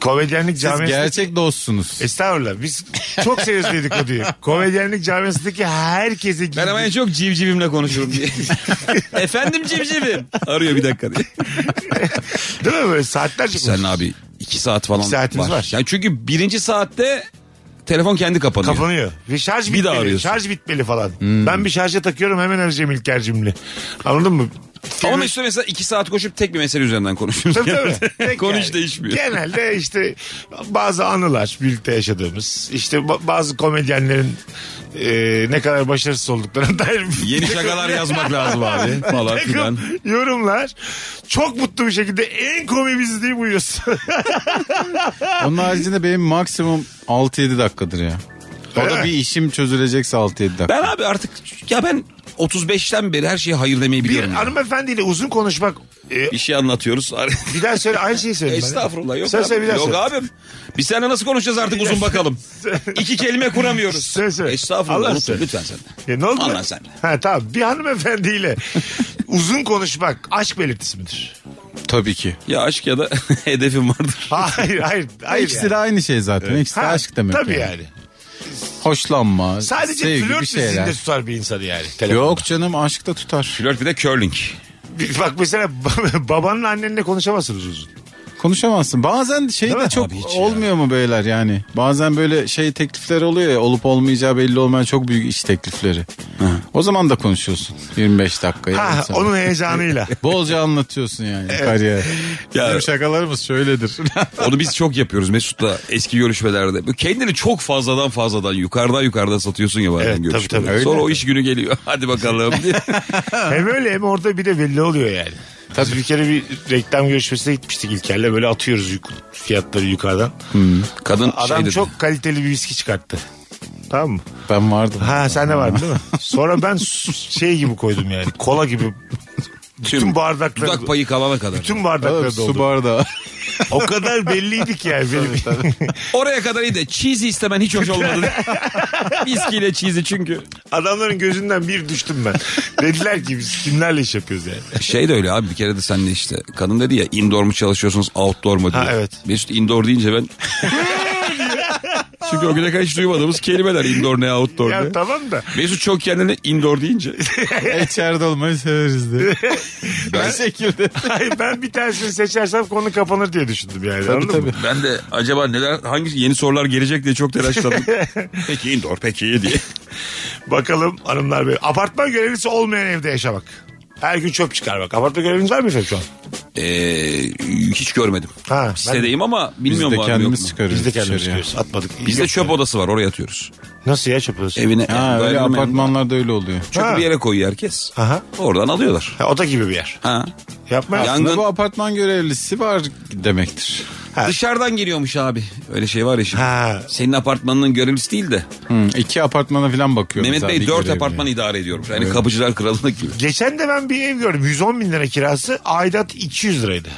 S3: komedyenlik
S4: Siz
S3: camiasında...
S4: gerçek
S3: E,
S4: dostsunuz.
S3: Estağfurullah. Biz çok seriyoruz dedikoduyu. Komedyenlik camiasındaki herkese
S5: Ben
S3: girdi-
S5: ama en çok civcivimle konuşurum diye. Efendim civcivim. Arıyor bir dakika diye.
S3: Değil mi böyle saatlerce
S5: Sen
S3: konuşuyoruz.
S5: abi iki saat falan
S3: İki saatimiz var.
S5: Yani çünkü birinci saatte telefon kendi kapanıyor.
S3: Kapanıyor. Ve şarj
S5: Bir
S3: bitmeli.
S5: daha arıyorsun. Hmm.
S3: şarj bitmeli falan. Ben bir şarja takıyorum hemen arayacağım İlker'cimle. Anladın mı?
S5: Ama Mesut mesela iki saat koşup tek bir mesele üzerinden konuşuyoruz.
S3: Tabii tabii. Tek
S5: Konu hiç
S3: yani.
S5: değişmiyor.
S3: Genelde işte bazı anılar birlikte yaşadığımız. işte ba- bazı komedyenlerin e, ne kadar başarısız olduklarına dair.
S5: Yeni şakalar yazmak lazım abi falan filan.
S3: Takım yorumlar. Çok mutlu bir şekilde en komik biz diye uyuyoruz.
S4: Onun haricinde benim maksimum 6-7 dakikadır ya. O
S3: Öyle
S4: da
S3: mi?
S4: bir işim çözülecekse 6-7 dakika.
S5: Ben abi artık ya ben 35'ten beri her şeye hayır demeyi
S3: bir
S5: biliyorum. ya.
S3: hanımefendiyle uzun konuşmak. e,
S5: Bir şey anlatıyoruz.
S3: bir daha söyle aynı şeyi söyle. bana.
S5: Estağfurullah yok
S3: Sen söyle
S5: abi.
S3: bir daha
S5: Yok
S3: söyle.
S5: abim. Biz seninle nasıl konuşacağız artık uzun bakalım. İki kelime kuramıyoruz.
S3: Söyle, söyle. Allah
S5: Estağfurullah unutma
S3: söyle.
S5: lütfen sen.
S3: Ya E, ne oldu?
S5: Anla sen.
S3: Ha tamam bir hanımefendiyle uzun konuşmak aşk belirtisi midir?
S4: Tabii ki.
S5: Ya aşk ya da hedefim vardır.
S3: Hayır hayır. hayır
S4: İkisi
S3: yani.
S4: de aynı şey zaten. İkisi de
S3: Ha,
S4: aşk demek.
S3: Tabii yani.
S4: Hoşlanma,
S3: Sadece
S4: sevgi
S3: flört
S4: bir şeyler.
S3: dizinde tutar bir insanı yani. telefonda.
S4: Yok canım aşk da tutar.
S5: Flört bir de curling.
S3: Bir- Bak mesela babanla annenle konuşamazsınız uzun.
S4: Konuşamazsın. Bazen şey
S3: Değil
S4: de
S3: mi?
S4: çok
S5: Abi hiç ya.
S4: olmuyor mu beyler yani? Bazen böyle şey teklifler oluyor ya olup olmayacağı belli olmayan çok büyük iş teklifleri. O zaman da konuşuyorsun 25 dakika.
S3: Ha,
S4: yarım saat.
S3: onun heyecanıyla.
S4: Bolca anlatıyorsun yani kariyer.
S5: Ya-
S4: Bizim şakalarımız şöyledir.
S5: Onu biz çok yapıyoruz Mesut'la eski görüşmelerde. Böyle Kendini çok fazladan fazladan yukarıdan yukarıdan satıyorsun ya bazen
S3: Evet, tabii,
S5: görüşmelerde.
S3: tabii. Öyle. Şey,
S5: Sonra o iş günü geliyor. Hadi bakalım diye.
S3: hem öyle hem orada bir de belli oluyor yani. Tabii bir kere bir reklam görüşmesine gitmiştik İlker'le böyle atıyoruz yuk- fiyatları yukarıdan.
S5: Kadın
S3: Adam
S5: şey dedi.
S3: çok kaliteli bir viski çıkarttı. Tamam mı?
S4: ben vardım.
S3: Ha sende vardı değil mi? Sonra ben su- şey gibi koydum yani. Kola gibi.
S5: Tüm
S3: Bütün bardakları.
S5: dudak payı kalana kadar.
S3: Bütün
S4: Oğlum,
S3: bardakları
S4: su
S3: doldu.
S4: bardağı.
S3: O kadar belliydi ki yani. Benim.
S5: Oraya kadar iyi de cheese istemen hiç hoş olmadı. Viskiyle cheese'i çünkü.
S3: Adamların gözünden bir düştüm ben. Dediler ki biz kimlerle iş yapıyoruz yani.
S5: Şey de öyle abi bir kere de sen de işte kadın dedi ya indoor mu çalışıyorsunuz outdoor mu diye.
S3: Ha, evet.
S5: Mesut indoor deyince ben çünkü o güne kadar hiç duymadığımız kelimeler indoor ne outdoor
S3: Ya
S5: ne.
S3: tamam da.
S5: Mesut çok kendini indoor deyince.
S4: İçeride olmayı severiz diye.
S5: Ben-
S4: Bir şekilde.
S3: Hayır, ben bir tanesini seçersem konu kapanır diye düşündüm yani.
S4: Tabii,
S3: anladın mı?
S4: tabii.
S5: Ben de acaba neler hangi yeni sorular gelecek diye çok telaşladım. peki indoor peki diye.
S3: Bakalım hanımlar bey. Apartman görevlisi olmayan evde yaşamak. Her gün çöp çıkarmak. Apartman görevliniz var mı efendim şu an?
S5: Ee, hiç görmedim.
S3: Ha, ben-
S5: Sitedeyim ama
S4: Biz
S5: bilmiyorum
S4: de
S5: var mı yok
S4: kendimiz
S5: mu?
S4: çıkarıyoruz.
S3: Biz de kendimiz
S4: dışarıya.
S3: çıkıyoruz. Atmadık.
S5: Bizde
S3: Yok.
S5: çöp odası var oraya atıyoruz.
S3: Nasıl ya çöp odası?
S5: Evine
S4: Ha, öyle
S5: dairenin
S4: apartmanlarda öyle oluyor.
S5: Çöpü
S3: Ha.
S5: bir yere koyuyor herkes.
S3: Aha.
S5: Oradan alıyorlar.
S3: Ha, oda gibi bir yer.
S5: Ha.
S3: Yapma.
S5: Ya-
S4: Aslında
S5: Yangın-
S4: bu apartman görevlisi var demektir.
S5: Dışarıdan geliyormuş abi. Öyle şey var ya şimdi.
S3: Ha.
S5: Senin apartmanının görevlisi değil de.
S4: Hmm, iki apartmana falan bakıyoruz.
S5: Mehmet
S4: abi,
S5: Bey dört
S4: görevli.
S5: apartman idare ediyormuş. Yani kapıcılar kralı gibi.
S3: Geçen de ben bir ev gördüm. 110 bin lira kirası. Aidat 200 liraydı.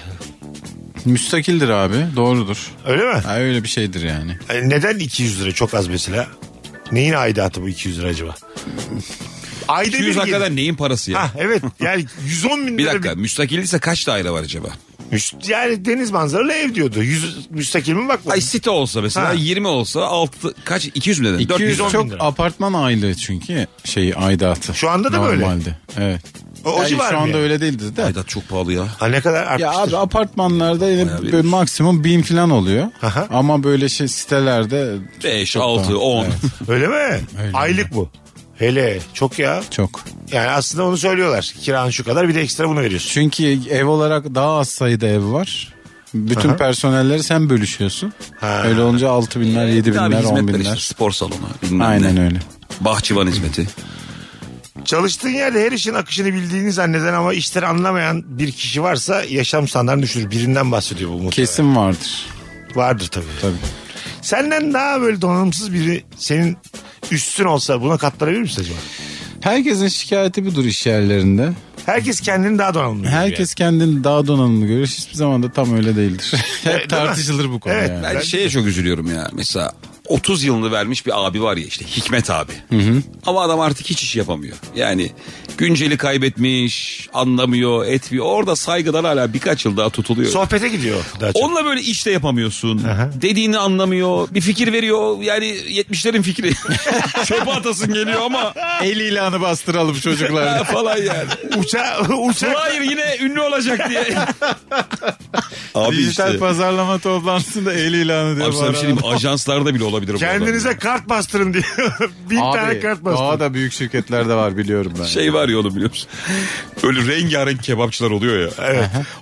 S4: Müstakildir abi doğrudur.
S3: Öyle mi?
S4: Ha, öyle bir şeydir yani.
S3: E, Neden 200 lira? Çok az mesela. Neyin aidatı bu 200 lira acaba? Ayda
S5: 200
S3: bir gelir.
S5: hakikaten neyin parası ya?
S3: Ha, evet yani 110 bin
S5: Bir
S3: lira
S5: dakika müstakilliyse kaç daire var acaba?
S3: Müst- yani deniz manzaralı ev diyordu. Yüz, müstakil mi bakma.
S5: Ay site olsa mesela
S3: Ha.
S5: 20 olsa 6 kaç 200 mü dedin?
S4: 200
S5: 400
S3: 410 bin
S4: çok
S3: lira.
S4: apartman aylığı çünkü şey aidatı.
S3: Şu anda da
S4: Normalde.
S3: böyle.
S4: Evet.
S3: O- o
S4: Yani
S3: civar
S4: şu
S3: mı
S4: anda
S3: yani?
S4: öyle değildi de.
S5: Ayda çok pahalı ya.
S3: Ha ne kadar
S4: Ya
S3: artmıştır.
S4: abi apartmanlarda yine
S5: Bayağı bir-
S4: böyle maksimum bin falan oluyor.
S3: Aha.
S4: Ama böyle şey sitelerde
S5: 5,
S4: çok
S5: 6,
S4: daha-
S5: 10.
S4: Evet,
S3: Öyle mi?
S4: Öyle.
S3: Aylık bu. Hele çok ya.
S4: çok.
S3: Yani aslında onu söylüyorlar. Kiran şu kadar bir de ekstra bunu veriyorsun.
S4: Çünkü ev olarak daha az sayıda ev var. Bütün
S3: Aha.
S4: personelleri sen bölüşüyorsun.
S3: Ha.
S4: Öyle olunca altı binler, yedi
S5: Abi
S4: binler, on
S5: hizmetler işte,
S4: binler.
S5: spor salonu bilmem
S4: Aynen
S5: ne.
S4: öyle.
S5: Bahçıvan hizmeti.
S3: Çalıştığın yerde her işin akışını bildiğini zanneden ama işleri anlamayan bir kişi varsa yaşam standartını düşürür. Birinden bahsediyor bu mutlaka.
S4: Kesin vardır.
S3: Vardır tabii.
S4: Tabii.
S3: Senden daha böyle donanımsız biri senin üstün olsa buna katlanabilir misin acaba?
S4: Herkesin şikayeti budur iş yerlerinde.
S3: Herkes kendini daha donanımlı görüyor yani.
S4: Herkes kendini daha donanımlı görür. Hiçbir zaman da tam öyle değildir.
S3: değil mi?
S4: Hep tartışılır bu konu
S3: Evet.
S4: yani.
S5: Ben
S3: Ben-
S5: şeye çok üzülüyorum ya. Mesela 30 yılını vermiş bir abi var ya işte Hikmet abi. Ama adam artık hiç iş yapamıyor. Yani günceli kaybetmiş, anlamıyor, etmiyor. Orada saygıdan hala birkaç yıl daha tutuluyor.
S3: Sohbete gidiyor daha çok.
S5: Onunla böyle iş de yapamıyorsun. Dediğini anlamıyor. Bir fikir veriyor. Yani 70'lerin fikri. Çöpe atasın geliyor ama
S4: El ilanı bastıralım çocuklar.
S5: Ee, falan yani.
S3: Uça, uça.
S5: Hayır yine ünlü olacak diye. Abi
S4: Dijital
S5: işte.
S4: pazarlama toplantısında el ilanı diye
S5: Abi sana bir şey
S4: bağıralım.
S5: diyeyim, ajanslarda bile olabilir bu adam.
S3: Kendinize kart bastırın diye. Bin tane
S4: Abi
S3: kart
S4: daha
S3: bastırın.
S4: da büyük şirketlerde var biliyorum ben.
S5: Şey var ya oğlum biliyor musun? Böyle rengarenk kebapçılar oluyor ya.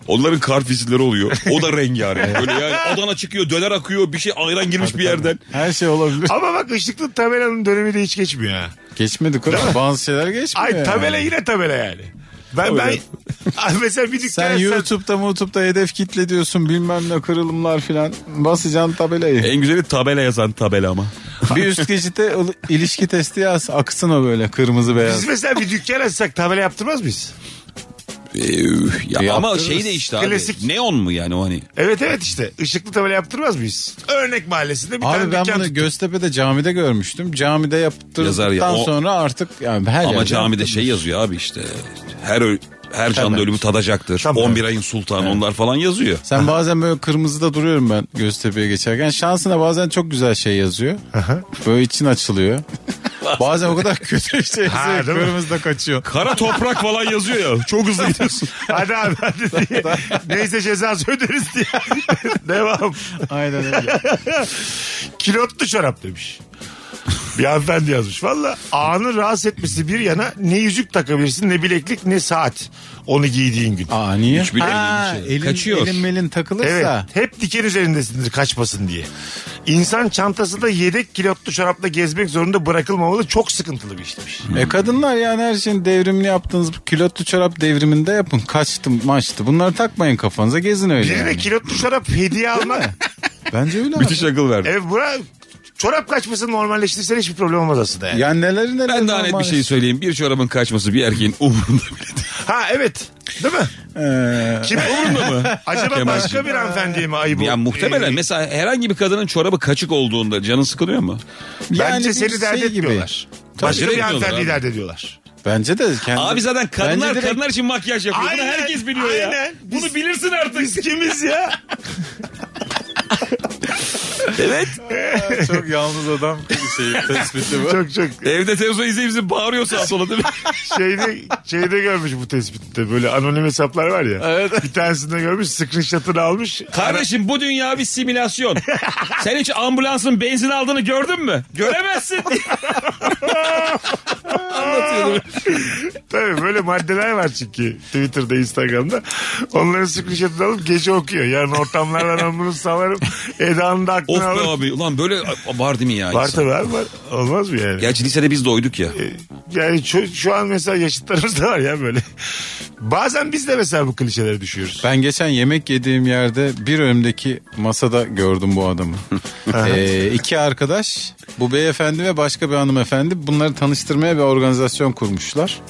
S5: Onların kar vizitleri oluyor. O da rengarenk. Böyle yani Adana çıkıyor, döner akıyor, bir şey ayran girmiş bir yerden.
S4: Her şey olabilir.
S3: Ama bak ışıklı tabelanın dönemi de hiç geçmiyor ha.
S4: Geçmedi konu. Bazı şeyler geçmiyor.
S3: Ay
S4: yani.
S3: tabela yine tabela yani. Ben ben Ay, mesela bir dükkan
S4: Sen
S3: açsam-
S4: YouTube'da YouTube'da hedef kitle diyorsun bilmem ne kırılımlar filan. Basacaksın tabelayı.
S5: En güzeli tabela yazan tabela ama.
S4: bir üst geçite il- ilişki testi yaz. Aksın o böyle kırmızı beyaz.
S3: Biz mesela bir dükkan açsak tabela yaptırmaz mıyız?
S5: Ya ama
S4: Yaptırırız.
S5: şey de işte abi.
S3: Klasik.
S5: Neon mu yani o hani?
S3: Evet evet işte. Işıklı tabela yaptırmaz mıyız? Örnek mahallesinde bir
S4: Abi
S3: tane
S4: ben
S3: dükkan.
S4: bunu Göztepe'de camide görmüştüm. Camide
S5: Yazar ya,
S4: yaptırdıktan
S5: o-
S4: sonra artık yani her
S5: Ama
S4: yerde
S5: camide şey yazıyor abi işte. Her ö- her canlı
S4: Tabii.
S5: ölümü tadacaktır.
S3: Tabii.
S5: 11 ayın sultanı onlar falan yazıyor.
S4: Sen bazen böyle kırmızıda duruyorum ben Göztepe'ye geçerken. Şansına bazen çok güzel şey yazıyor. Böyle için açılıyor. bazen o kadar kötü şey
S3: Ha,
S4: yazıyor.
S3: değil mi?
S4: kırmızıda kaçıyor.
S5: Kara toprak falan yazıyor ya. Çok hızlı gidiyorsun.
S3: Hadi abi hadi diye. Neyse cezası öderiz diye. Devam.
S4: Aynen öyle.
S3: Kilotlu çorap demiş. Bir hanımefendi yazmış. Valla anı rahatsız etmesi bir yana ne yüzük takabilirsin ne bileklik ne saat. Onu giydiğin gün.
S4: Aa niye?
S5: Hiçbir
S4: Ha,
S5: elin içi.
S4: elin,
S5: şey. Kaçıyor.
S4: elin melin
S3: Evet.
S4: takılırsa.
S3: Hep diken üzerindesindir kaçmasın diye. İnsan çantasında yedek kilotlu çorapla gezmek zorunda bırakılmamalı. Çok sıkıntılı bir işmiş.
S5: Hmm.
S4: E kadınlar yani her şeyin devrimini yaptığınız bu külotlu çorap devriminde yapın. Kaçtı maçtı. Bunları takmayın kafanıza gezin öyle.
S3: Birine
S4: Yani.
S3: kilotlu çorap hediye almak.
S4: Bence öyle.
S5: Müthiş akıl verdi.
S3: evet bura çorap kaçmasını normalleştirsen hiçbir problem olmaz aslında yani.
S4: Yani neleri neleri
S5: Ben daha net
S4: normal
S5: bir şey
S4: iş.
S5: söyleyeyim. Bir çorabın kaçması bir erkeğin umurunda bile değil.
S3: Ha evet. Değil mi?
S4: Ee,
S3: Kim umurunda mı? Acaba
S5: Kemal'cim.
S3: başka bir hanımefendiye mi ayıp
S5: Ya
S3: oldu?
S5: muhtemelen
S3: Ee,
S5: mesela herhangi bir kadının çorabı kaçık olduğunda canın sıkılıyor mu?
S4: yani
S3: Bence
S4: bir
S3: seni dert
S4: şey gibi.
S3: etmiyorlar.
S5: Bence
S3: Başka
S5: de
S3: bir
S5: etmiyorlar
S3: hanımefendiyi
S5: abi.
S3: dert ediyorlar.
S4: Bence de kendi...
S5: Abi zaten kadınlar
S4: Bence direkt-
S5: kadınlar için makyaj yapıyor. Bunu
S3: Aynen,
S5: herkes biliyor ya.
S3: aynen. Biz-
S5: Bunu bilirsin artık.
S3: Biz kimiz ya?
S5: Evet.
S4: Çok yalnız adam şeyi tespiti bu.
S3: çok çok
S5: Evde televizyon izleyip bizi bağırıyor sağa sola değil mi?
S3: şeyde, şeyde görmüş bu tespitte. Böyle anonim hesaplar var ya.
S4: Evet.
S3: Bir tanesinde görmüş screenshot'ını almış.
S5: Kardeşim bu dünya bir simülasyon. Sen hiç ambulansın benzin aldığını gördün mü? Göremezsin. Anlatıyordum.
S3: Tabii böyle maddeler var çünkü Twitter'da, Instagram'da. Onların screenshot'ını alıp gece okuyor. Yarın ortamlardan ben bunu salarım. Eda'nın da
S5: Of
S3: aklını
S5: be
S3: alır.
S5: abi. Ulan böyle var değil mi ya?
S3: Var
S5: insan?
S3: tabii abi var. Olmaz mı yani?
S5: Gerçi lisede biz doyduk ya.
S3: Yani şu, şu an mesela yaşıtlarımız da var ya böyle. Bazen biz de mesela bu klişelere düşüyoruz.
S4: Ben geçen yemek yediğim yerde bir önümdeki masada gördüm bu adamı. ee, iki arkadaş bu beyefendi ve başka bir hanımefendi bunları tanıştırmaya bir organizasyon kurmuşlar.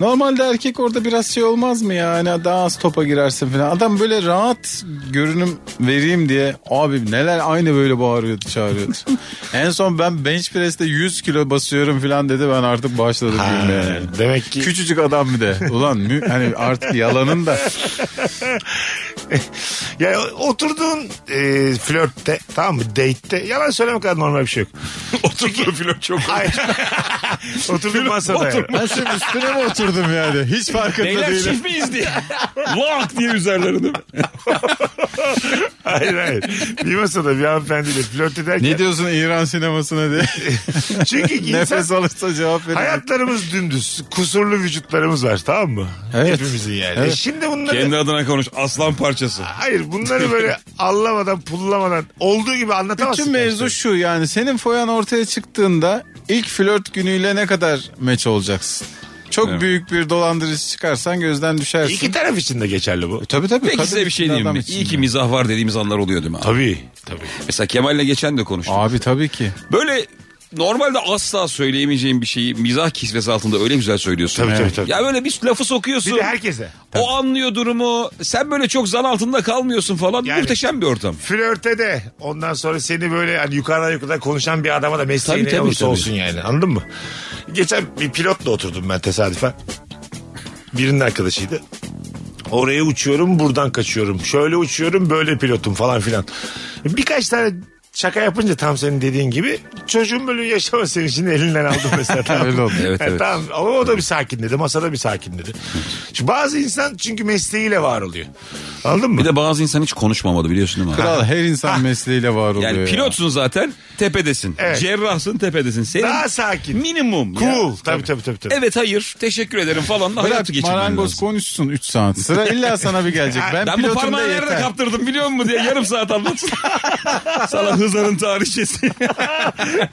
S4: Normalde erkek orada biraz şey olmaz mı ya? Hani daha az topa girersin falan. Adam böyle rahat görünüm vereyim diye abi neler aynı böyle bağırıyordu çağırıyordu. en son ben bench press'te 100 kilo basıyorum falan dedi ben artık başladım gülmeye. yani.
S3: Demek ki
S4: Küçücük adam bir de. Ulan mü, hani artık yalanın da
S3: yani oturduğun e, flörtte tamam mı date'te yalan söylemek kadar normal bir şey yok.
S5: Oturduğu flört çok.
S3: Hayır. Oturduğun masada. yani.
S4: Ben şimdi üstüne mi oturdum yani? Hiç farkında
S5: Beyler
S4: değilim.
S5: çift miyiz diye. Long diye üzerlerinde.
S3: Hayır hayır. Bir masada bir hanımefendiyle flört ederken.
S4: Ne diyorsun İran sinemasına diye.
S3: Çünkü insan,
S4: Nefes alırsa cevap verir.
S3: hayatlarımız dümdüz. Kusurlu vücutlarımız var tamam mı?
S4: Evet.
S3: Hepimizin yani.
S4: Evet.
S3: E şimdi bunları...
S5: Kendi adına konuş. Aslan parçası.
S3: Hayır bunları böyle allamadan pullamadan olduğu gibi anlatamazsın.
S4: Bütün mevzu şu yani senin foyan ortaya çıktığında ilk flört günüyle ne kadar meç olacaksın? Çok büyük bir dolandırıcı çıkarsan gözden düşersin. E,
S3: İki taraf için de geçerli bu.
S4: Tabii tabii.
S5: Peki
S4: kadın
S5: size bir şey
S4: için,
S5: diyeyim
S4: adam
S5: mi?
S4: için
S5: İyi ki
S4: yani.
S5: mizah var dediğimiz anlar oluyor değil mi? abi?
S3: Tabii. Tabii.
S5: Mesela Kemal'le geçen de konuştuk.
S4: Abi tabii ki.
S5: Böyle normalde asla söyleyemeyeceğim bir şeyi mizah kisvesi altında öyle güzel söylüyorsun.
S3: Tabii, tabii, tabii.
S5: Ya böyle bir lafı sokuyorsun.
S3: Bir de herkese.
S5: O anlıyor durumu. Sen böyle çok zan altında kalmıyorsun falan.
S3: Yani-
S5: Muhteşem bir ortam.
S3: Flörte de ondan sonra seni böyle hani yukarıdan yukarıdan konuşan bir adama da mesleği
S5: Tabii,
S3: ne
S5: tabii,
S3: olursa
S5: tabii.
S3: olsun yani anladın mı? Geçen bir pilotla oturdum ben tesadüfen. Birinin arkadaşıydı. Oraya uçuyorum buradan kaçıyorum. Şöyle uçuyorum böyle pilotum falan filan. Birkaç tane şaka yapınca tam senin dediğin gibi çocuğun böyle yaşama sevincini elinden aldım mesela. tamam.
S4: Öyle oldu.
S5: Evet,
S3: Yani
S5: evet.
S3: Tamam ama o da bir sakinledi. Masada bir sakinledi. Şimdi bazı insan çünkü mesleğiyle var oluyor. Anladın mı?
S5: Bir de bazı insan hiç konuşmamalı biliyorsun değil mi?
S4: Kral her insan mesleğiyle var oluyor.
S5: Yani
S4: ya.
S5: pilotsun zaten tepedesin.
S3: Evet.
S5: Cerrahsın tepedesin. Senin
S3: Daha sakin.
S5: minimum. ya.
S3: Cool. Tabii tabii tabii. tabii.
S5: Evet hayır teşekkür ederim falan. da
S4: Bırak
S5: Hayatı geçirmen
S4: marangoz
S5: lazım.
S4: konuşsun 3 saat. Sıra illa sana bir gelecek. Ben,
S5: Ben bu
S4: pilotum da
S5: parmağı nerede
S4: yeter.
S5: kaptırdım biliyor musun diye yarım saat anlatsın. Sana hızarın tarihçesi.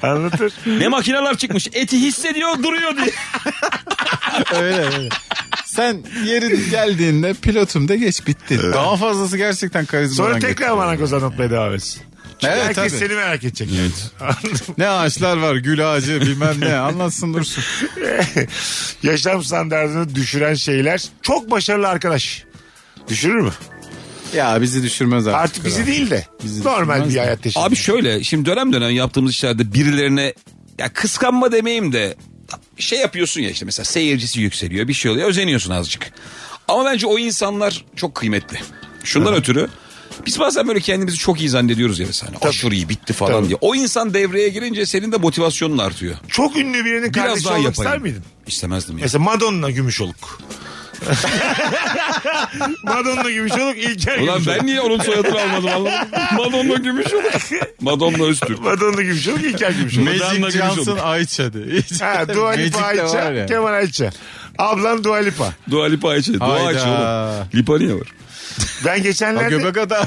S3: Anlatır.
S5: ne makineler çıkmış. Eti hissediyor duruyor diye.
S4: öyle öyle. Sen yeri geldiğinde pilotum da geç bitti. Daha fazlası gerçekten karizmadan
S3: Sonra tekrar
S4: getiriyor.
S3: marangoz anlatmaya devam etsin. Çünkü
S4: Evet,
S3: herkes
S4: tabii.
S3: seni merak edecek. Anladın
S4: Ne ağaçlar var gül ağacı bilmem ne anlatsın dursun.
S3: mı? Yaşam standartını düşüren şeyler çok başarılı arkadaş. Düşürür mü?
S4: Ya bizi düşürmez artık.
S3: Artık bizi değil de
S4: Bizi
S3: normal
S4: düşünmez
S3: bir
S4: de.
S3: hayat yaşıyor.
S5: Abi şöyle şimdi dönem dönem yaptığımız işlerde birilerine ya kıskanma demeyeyim de şey yapıyorsun ya işte mesela seyircisi yükseliyor bir şey oluyor özeniyorsun azıcık. Ama bence o insanlar çok kıymetli. Şundan ötürü biz bazen böyle kendimizi çok iyi zannediyoruz ya mesela. Aşırı iyi bitti falan
S3: Tabii.
S5: diye. O insan devreye girince senin de motivasyonun artıyor.
S3: çok ünlü birinin
S5: Biraz
S3: kardeşi
S5: daha
S3: olmak
S5: yapayım.
S3: ister miydin?
S5: İstemezdim ya.
S3: Mesela Madonna Gümüşoluk. Madonna Gümüşoluk İlker
S5: Ulan
S3: Gümüşoluk.
S5: ben niye onun soyadını almadım anladın mı? Madonna gümüş olur. Madonna üstü.
S3: Madonna Gümüşoluk İlker Gümüşoluk.
S5: Madonna
S4: Magic
S5: gibi
S4: Johnson
S5: olduk.
S4: Ayça de.
S3: ha, Dua Lipa
S4: Magic de var
S3: Ayça,
S4: ya.
S3: Kemal Ayça. Ablan Dua Lipa.
S5: Dua Lipa Ayça. Dua
S4: Hayda.
S5: Ayça oğlum. Lipa niye var?
S3: Ben
S4: Ha,
S3: geçenlerde
S4: Göbek adam.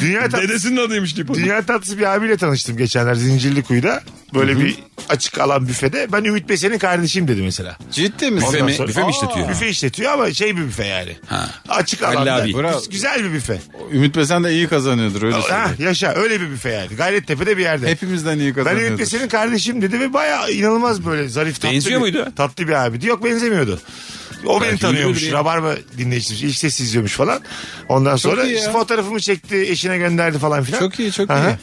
S3: dünya tatlısı
S5: Dedesinin adıymış Lipa.
S3: Dünya tatlısı bir abiyle tanıştım geçenler Zincirlikuyu'da. Böyle bir açık alan büfede. Ben Ümit Besen'in kardeşim dedi mesela.
S4: Ciddi misin?
S5: Büfe mi,
S3: sonra-
S5: büfe mi
S3: Aa,
S5: işletiyor?
S3: Büfe işletiyor ama şey bir büfe yani. Açık alanda.
S5: abi.
S3: Güz- Güzel bir büfe.
S4: Ümit Besen de iyi kazanıyordur öyle
S3: Ha,
S4: söyleyeyim.
S3: yaşa öyle bir büfe yani. Gayrettepe'de bir yerde.
S4: Hepimizden iyi
S3: ben Ümit
S4: kazanıyordur.
S3: Besen'in kardeşim dedi ve baya inanılmaz böyle zarif tatlı bir,
S5: Benziyor muydu?
S3: tatlı bir abiydi. Yok benzemiyordu. O beni
S5: Belki
S3: tanıyormuş.
S5: biliyordur ya.
S3: Rabarba dinleyicisi. İlk ses izliyormuş falan. Ondan sonra
S4: iyi ya.
S3: fotoğrafımı çekti. Eşine gönderdi falan filan.
S4: Çok iyi çok
S3: Aha.
S4: iyi.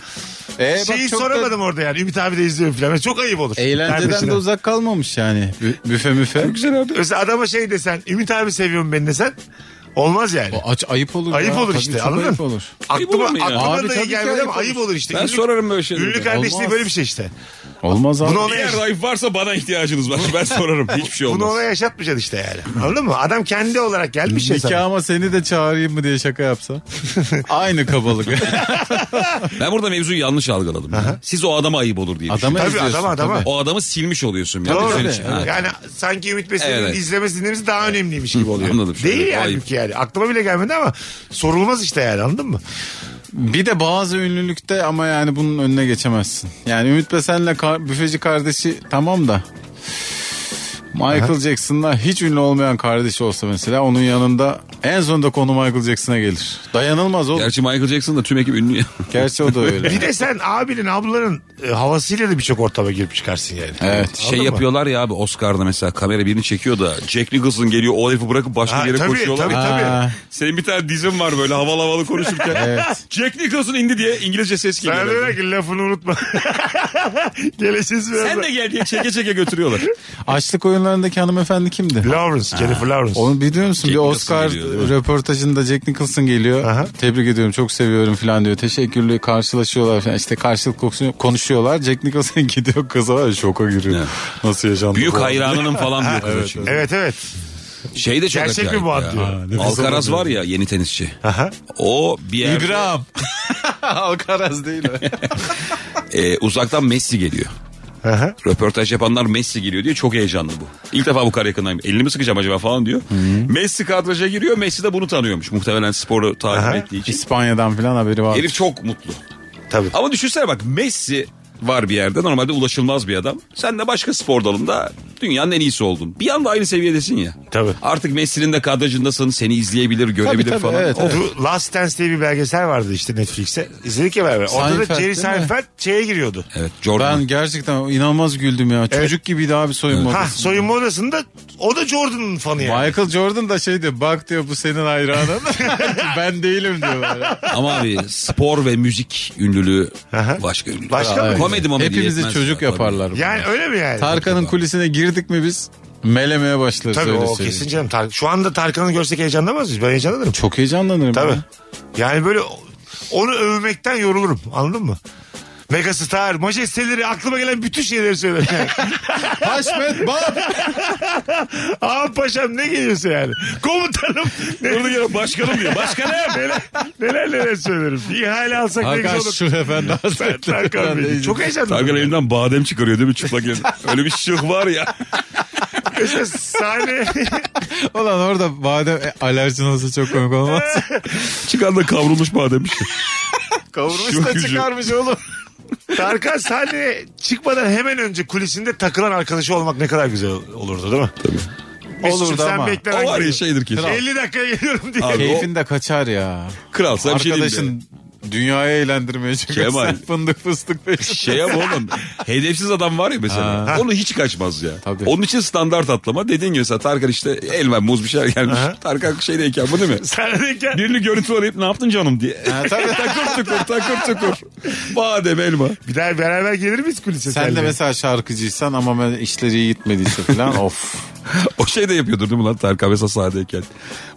S4: Ee, bak
S3: Şeyi
S4: çok da
S3: soramadım orada yani. Ümit abi de izliyor falan. Çok ayıp olur.
S4: Eğlenceden
S3: Kardeşine.
S4: de uzak kalmamış yani. Bü- Büfe müfe. Güzel abi.
S3: Mesela adama şey desen Ümit abi seviyorum beni desen olmaz yani.
S4: Aç, ayıp olur.
S3: Ayıp
S4: ya.
S3: olur
S4: Tabii
S3: işte,
S4: çok
S3: anladın
S4: Ayıp
S3: mı?
S4: olur.
S5: Ayıp olur mu
S3: aklıma
S5: ya?
S3: aklıma
S4: Abi,
S3: da
S4: tabii
S3: iyi
S4: ki
S3: gelmedi ama
S4: ayıp
S3: ayıp
S4: olur.
S3: olur işte.
S5: Ben sorarım böyle şeyleri.
S3: Ünlü kardeşliği
S4: Olmaz.
S3: böyle bir şey işte.
S4: Olmaz abi.
S3: Bunu ona,
S5: Eğer
S3: yaş-
S5: zayıf varsa bana ihtiyacınız var. Ben sorarım. Hiçbir şey
S3: bunu
S5: olmaz.
S3: ona yaşatmayacaksın işte yani. Anladın mı? Adam kendi olarak gelmiş
S4: şey
S3: ya sana.
S4: Nikahıma seni de çağırayım mı diye şaka yapsa. Aynı kabalık.
S5: Ben burada mevzuyu yanlış algıladım. ya. Siz o adama ayıp olur diye
S4: Adamı
S5: Adamı...
S3: Tabii
S4: izliyorsun,
S3: adama adama.
S5: O adamı silmiş oluyorsun. ya.
S3: Doğru.
S5: Güzel için. Ha.
S3: Yani sanki Ümit Besen'in
S5: Evet.
S3: izlemesi dinlemesi daha önemliymiş gibi oluyor.
S5: Anladım.
S3: Değil
S5: Şöyle,
S3: yani
S5: ayıp.
S3: halbuki yani. Aklıma bile gelmedi ama sorulmaz işte yani anladın mı?
S4: Bir de bazı ünlülükte ama yani bunun önüne geçemezsin. Yani Ümit Besen'le kar- büfeci kardeşi tamam da Michael Jackson'la hiç ünlü olmayan kardeşi olsa mesela onun yanında en sonunda konu Michael Jackson'a gelir. Dayanılmaz oğlum. Gerçi,
S5: Gerçi Michael Jackson da tüm ekip ünlü. ya.
S4: o da öyle.
S3: Bir de sen abinin ablanın e, havasıyla da birçok ortama girip çıkarsın yani.
S4: Evet.
S5: şey
S3: Anladın mı?
S5: yapıyorlar ya abi Oscar'da mesela kamera birini çekiyor da Jack Nicholson geliyor o herifi bırakıp başka
S3: Ha,
S5: bir yere
S3: tabii,
S5: koşuyorlar.
S3: tabii, tabii.
S4: Ha.
S5: Senin bir tane dizin var böyle havalı havalı konuşurken. Jack Nicholson indi diye İngilizce ses
S3: Sen
S5: geliyor.
S3: de ki lafını unutma. Geleceğiz biraz.
S5: Sen de gel diye çeke çeke götürüyorlar.
S4: Açlık oyunlarındaki hanımefendi kimdi?
S3: Lawrence, Jennifer Lawrence.
S4: Onu biliyor musun?
S5: Jack
S4: bir
S5: Nicholson
S4: Oscar
S5: geliyor, değil mi?
S4: röportajında Jack Nicholson geliyor.
S3: Aha.
S4: Tebrik ediyorum çok seviyorum falan diyor. Teşekkürlü karşılaşıyorlar falan. İşte karşılık kokusu- konuşuyorlar. Jack Nicholson gidiyor kıza var ya, şoka giriyor.
S5: Evet.
S4: Nasıl yaşandı?
S5: Büyük
S4: bu?
S5: hayranının falan diyor. kız için.
S3: Evet evet.
S5: Şey de çok
S3: Gerçek
S5: acayip
S3: mi bu
S5: ya.
S3: ad diyor.
S4: nefes
S5: Alcaraz
S4: alamıyorum.
S5: var ya yeni tenisçi.
S3: Aha.
S5: O bir yerde
S4: İbrahim. Alcaraz değil mi?
S5: e, uzaktan Messi geliyor.
S3: Aha.
S5: Röportaj yapanlar Messi geliyor diyor. Çok heyecanlı bu. İlk defa bu kadar yakındayım. Elini mi sıkacağım acaba falan diyor. Messi kadraja giriyor. Messi de bunu tanıyormuş. Muhtemelen sporu takip ettiği için.
S4: İspanya'dan falan haberi var.
S5: Herif çok mutlu.
S3: Tabii.
S5: Ama düşünsene bak Messi var bir yerde. Normalde ulaşılmaz bir adam. Sen de başka spor dalında dünyanın en iyisi oldun. Bir anda aynı seviyedesin ya.
S3: Tabii.
S5: Artık Messi'nin de kadrajındasın. Seni izleyebilir, görebilir
S4: tabii,
S5: falan.
S4: evet,
S5: O-
S4: evet.
S3: Bu Last Dance diye bir belgesel vardı işte Netflix'te. İzledik ya beraber. Orada
S4: Seinfeld,
S3: da Jerry
S4: değil mi?
S3: Seinfeld şeye giriyordu.
S5: Evet, Jordan.
S4: Ben gerçekten inanılmaz güldüm ya. Çocuk gibiydi abi soyunma
S3: Ha
S4: odası.
S3: soyunma odasında o da Jordan'ın fanı yani.
S4: Michael Jordan da şey diyor bak diyor bu senin hayranın. ben değilim diyorlar.
S5: Ama abi spor ve müzik ünlülüğü
S3: Aha.
S5: başka ünlülük.
S3: Başka
S5: Bravo.
S3: mı?
S5: Komedi momedi
S4: Hepimizi
S5: yetmez
S4: çocuk
S5: ya,
S4: yaparlar.
S3: Yani öyle mi yani?
S4: Tarkan'ın kulisine girdik mi biz melemeye başlarız
S3: Tabii
S4: öyle
S3: o
S4: söyleyeyim.
S3: kesin canım. Tar- Şu anda Tarkan'ı görsek heyecanlanmaz mıyız? Ben heyecanlanırım.
S4: şey. Çok heyecanlanırım.
S3: Tabii.
S4: ya.
S3: Yani böyle onu övmekten yorulurum. Anladın mı? Megastar, majesteleri, aklıma gelen bütün şeyleri söylerim. Yani.
S4: Haşmet bab.
S3: Ağam paşam ne geliyorsa yani. Komutanım. Ne,
S5: Tabii. Burada gene başkanım diyor. Başkanım.
S3: neler, neler neler söylerim. İhale alsak ne güzel
S4: Hakan
S3: olur.
S4: Şükür Efendi Hazretleri.
S3: Tarkan
S4: Ben de
S3: Bey.
S4: heyecan-
S3: Çok heyecanlandım.
S5: Tarkan elinden badem çıkarıyor değil mi çıplak elinden? Öyle bir şık var ya.
S3: Mesela sahne
S4: Ulan orada badem e, alerjin olsa çok komik olmaz.
S5: Çıkan da kavrulmuş badem şık.
S4: Kavurmuş da
S5: gücü.
S4: çıkarmış oğlum.
S3: Tarkan sahneye çıkmadan hemen önce kulisinde takılan arkadaşı olmak ne kadar güzel olurdu değil mi? Tabii.
S4: Olurdu ama.
S5: O var ya şeydir kesin.
S3: 50 dakika geliyorum diye.
S5: Abi o
S4: Keyfin de kaçar ya.
S5: kralsa bir şey değil de.
S4: Arkadaşın dünyaya eğlendirmeye çıkıyor.
S5: Kemal.
S4: Sen fındık fıstık peşin.
S5: Şey ama oğlum hedefsiz adam var ya mesela. Onu hiç kaçmaz ya.
S4: Tabii.
S5: Onun için standart atlama. Dediğin gibi mesela Tarkan işte elma muz bir şeyler gelmiş. Tarkan şeydeyken bu değil mi?
S3: Sahnedeyken
S5: Birini görüntü arayıp ne yaptın canım diye.
S4: Ha, tabii.
S5: takır tukur takır tukur. Badem elma.
S3: bir daha beraber gelir miyiz kulise?
S4: Sen de
S3: seninle?
S4: mesela şarkıcıysan ama ben- işleri iyi gitmediyse falan of.
S5: O şey de yapıyordur değil mi lan Tarkan mesela sahnedeyken.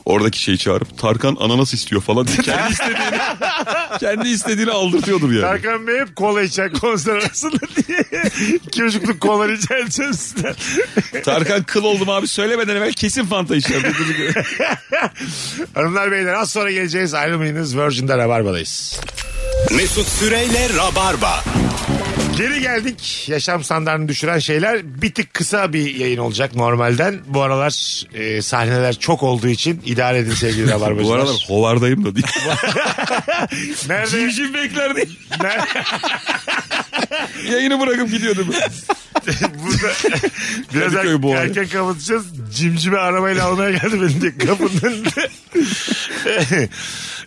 S5: Oradaki şeyi çağırıp Tarkan ananas istiyor falan diye kendi istediğini, kendi istediğini aldırtıyordur yani.
S3: Tarkan Bey hep kola içen konser arasında diye. İki çocukluk kola rica edeceğim sizden.
S5: Tarkan kıl oldum abi söylemeden evvel kesin fanta içer.
S3: Hanımlar beyler az sonra geleceğiz. Ayrılmayınız. Virgin'de Rabarba'dayız.
S2: Mesut Süreyle Rabarba.
S3: Geri geldik. Yaşam standartını düşüren şeyler bir tık kısa bir yayın olacak normalden. Bu aralar e, sahneler çok olduğu için idare edin sevgili Rabarbacılar.
S5: Bu aralar hovardayım da diye.
S3: Nerede?
S5: Cimcim bekler diye.
S3: Nerede?
S5: Yayını bırakıp gidiyordum.
S3: Burada biraz
S5: Kadıköy
S3: er,
S5: bu arada.
S3: erken kapatacağız. Cimcime arabayla almaya geldi benim de kapının önünde.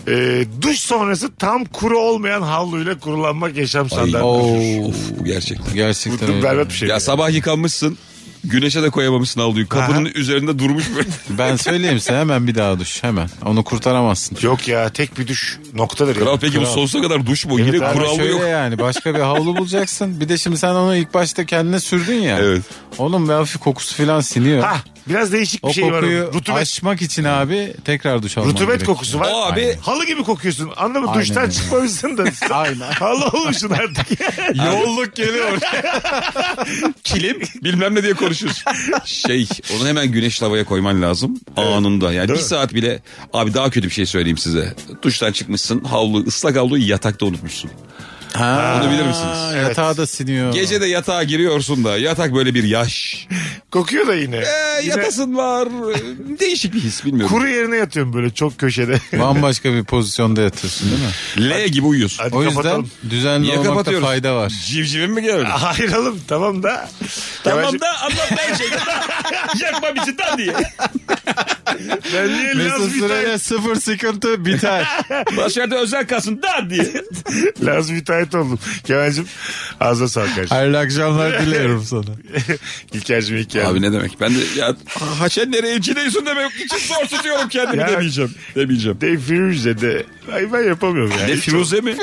S3: Ee, duş sonrası tam kuru olmayan havluyla kurulanmak yaşam standartı.
S4: Oo.
S5: of bu gerçekten.
S3: Bu
S4: Gerçekten
S3: çok
S4: öyle.
S3: berbat bir şey.
S5: Hmm. Ya sabah yıkanmışsın. Güneşe de koyamamışsın havluyu. Kapının üzerinde durmuş böyle.
S3: şey.
S4: Ben söyleyeyim sen hemen bir daha düş hemen. Onu kurtaramazsın.
S3: Yok ya tek bir duş noktadır. ya.
S5: Kral peki bu sonsuza kadar duş mu? Yine
S3: abi,
S5: kuralı
S4: Şöyle
S5: yok.
S4: Hani şey yani başka bir havlu bulacaksın. Bir de şimdi sen onu ilk başta kendine sürdün ya.
S5: Evet.
S4: Onun bir hafif kokusu filan siniyor.
S3: Hah, biraz değişik bir
S4: o
S3: şey var.
S4: kokuyu
S3: orada. Rutubet,
S4: aşmak için abi tekrar duş alman
S3: rutubet
S4: gerekiyor.
S3: kokusu var.
S5: O abi
S3: Halı gibi kokuyorsun. Anladın mı?
S4: Aynen
S3: Duştan
S4: öyle.
S3: çıkmamışsın da.
S4: Aynen.
S3: Halı olmuşsun artık.
S4: Yolluk geliyor.
S5: kilim bilmem ne diye konuşuyorsun. Şey onu hemen güneşli havaya koyman lazım anında. Yani bir
S3: mi?
S5: saat bile abi daha kötü bir şey söyleyeyim size. Duştan çıkmışsın havlu ıslak havluyu yatakta unutmuşsun.
S4: Ha,
S5: Onu bilir misiniz?
S3: Evet.
S4: Yatağa da siniyor.
S5: Gece de yatağa giriyorsun da yatak böyle bir yaş.
S3: Kokuyor da yine.
S5: Ee,
S3: Yine
S5: yatasın var. Ee, Değişik bir his bilmiyorum.
S3: Kuru yerine yatıyorum böyle çok köşede.
S4: Bambaşka bir pozisyonda yatıyorsun değil mi?
S5: L gibi uyuyorsun.
S3: Hadi
S4: O yüzden
S3: kapatalım.
S4: düzenli
S5: Niye
S4: olmakta
S5: kapatıyoruz?
S4: fayda var.
S5: Civcivim mi geldi?
S3: Hayır oğlum tamam da.
S5: Tamam
S3: Yavaş-
S5: da anlat ben şey. Yakma bizi da diye.
S3: Ben niye Laz
S4: Mesut
S3: Vitayet,
S4: Süreyle sıfır sıkıntı biter.
S5: Başarıda özel kalsın da diye.
S3: Laz Vitayet oldum. Kemal'cim ağzına sağlık kardeşim.
S4: Hayırlı akşamlar diliyorum sana.
S3: İlker'cim iyi ki
S5: Abi
S3: geldin.
S5: ne demek? Ben de ya haşen nereye içindeysin demek için zor tutuyorum kendimi
S3: Ya.
S5: demeyeceğim. Demeyeceğim.
S3: De Firuze de. Ay ben yapamıyorum yani.
S5: Ne Firuze mi?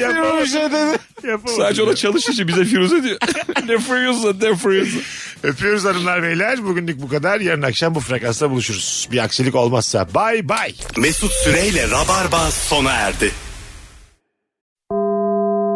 S3: yapamam,
S4: dedi.
S3: yapamam.
S5: Sadece ona çalışıcı bize Firuze diyor. ne Firuze ne Firuze.
S3: Öpüyoruz hanımlar beyler. Bugünlük bu kadar. Yarın akşam bu frekansta buluşuruz. Bir aksilik olmazsa. Bay bay.
S2: Mesut Süreyle Rabarba sona erdi.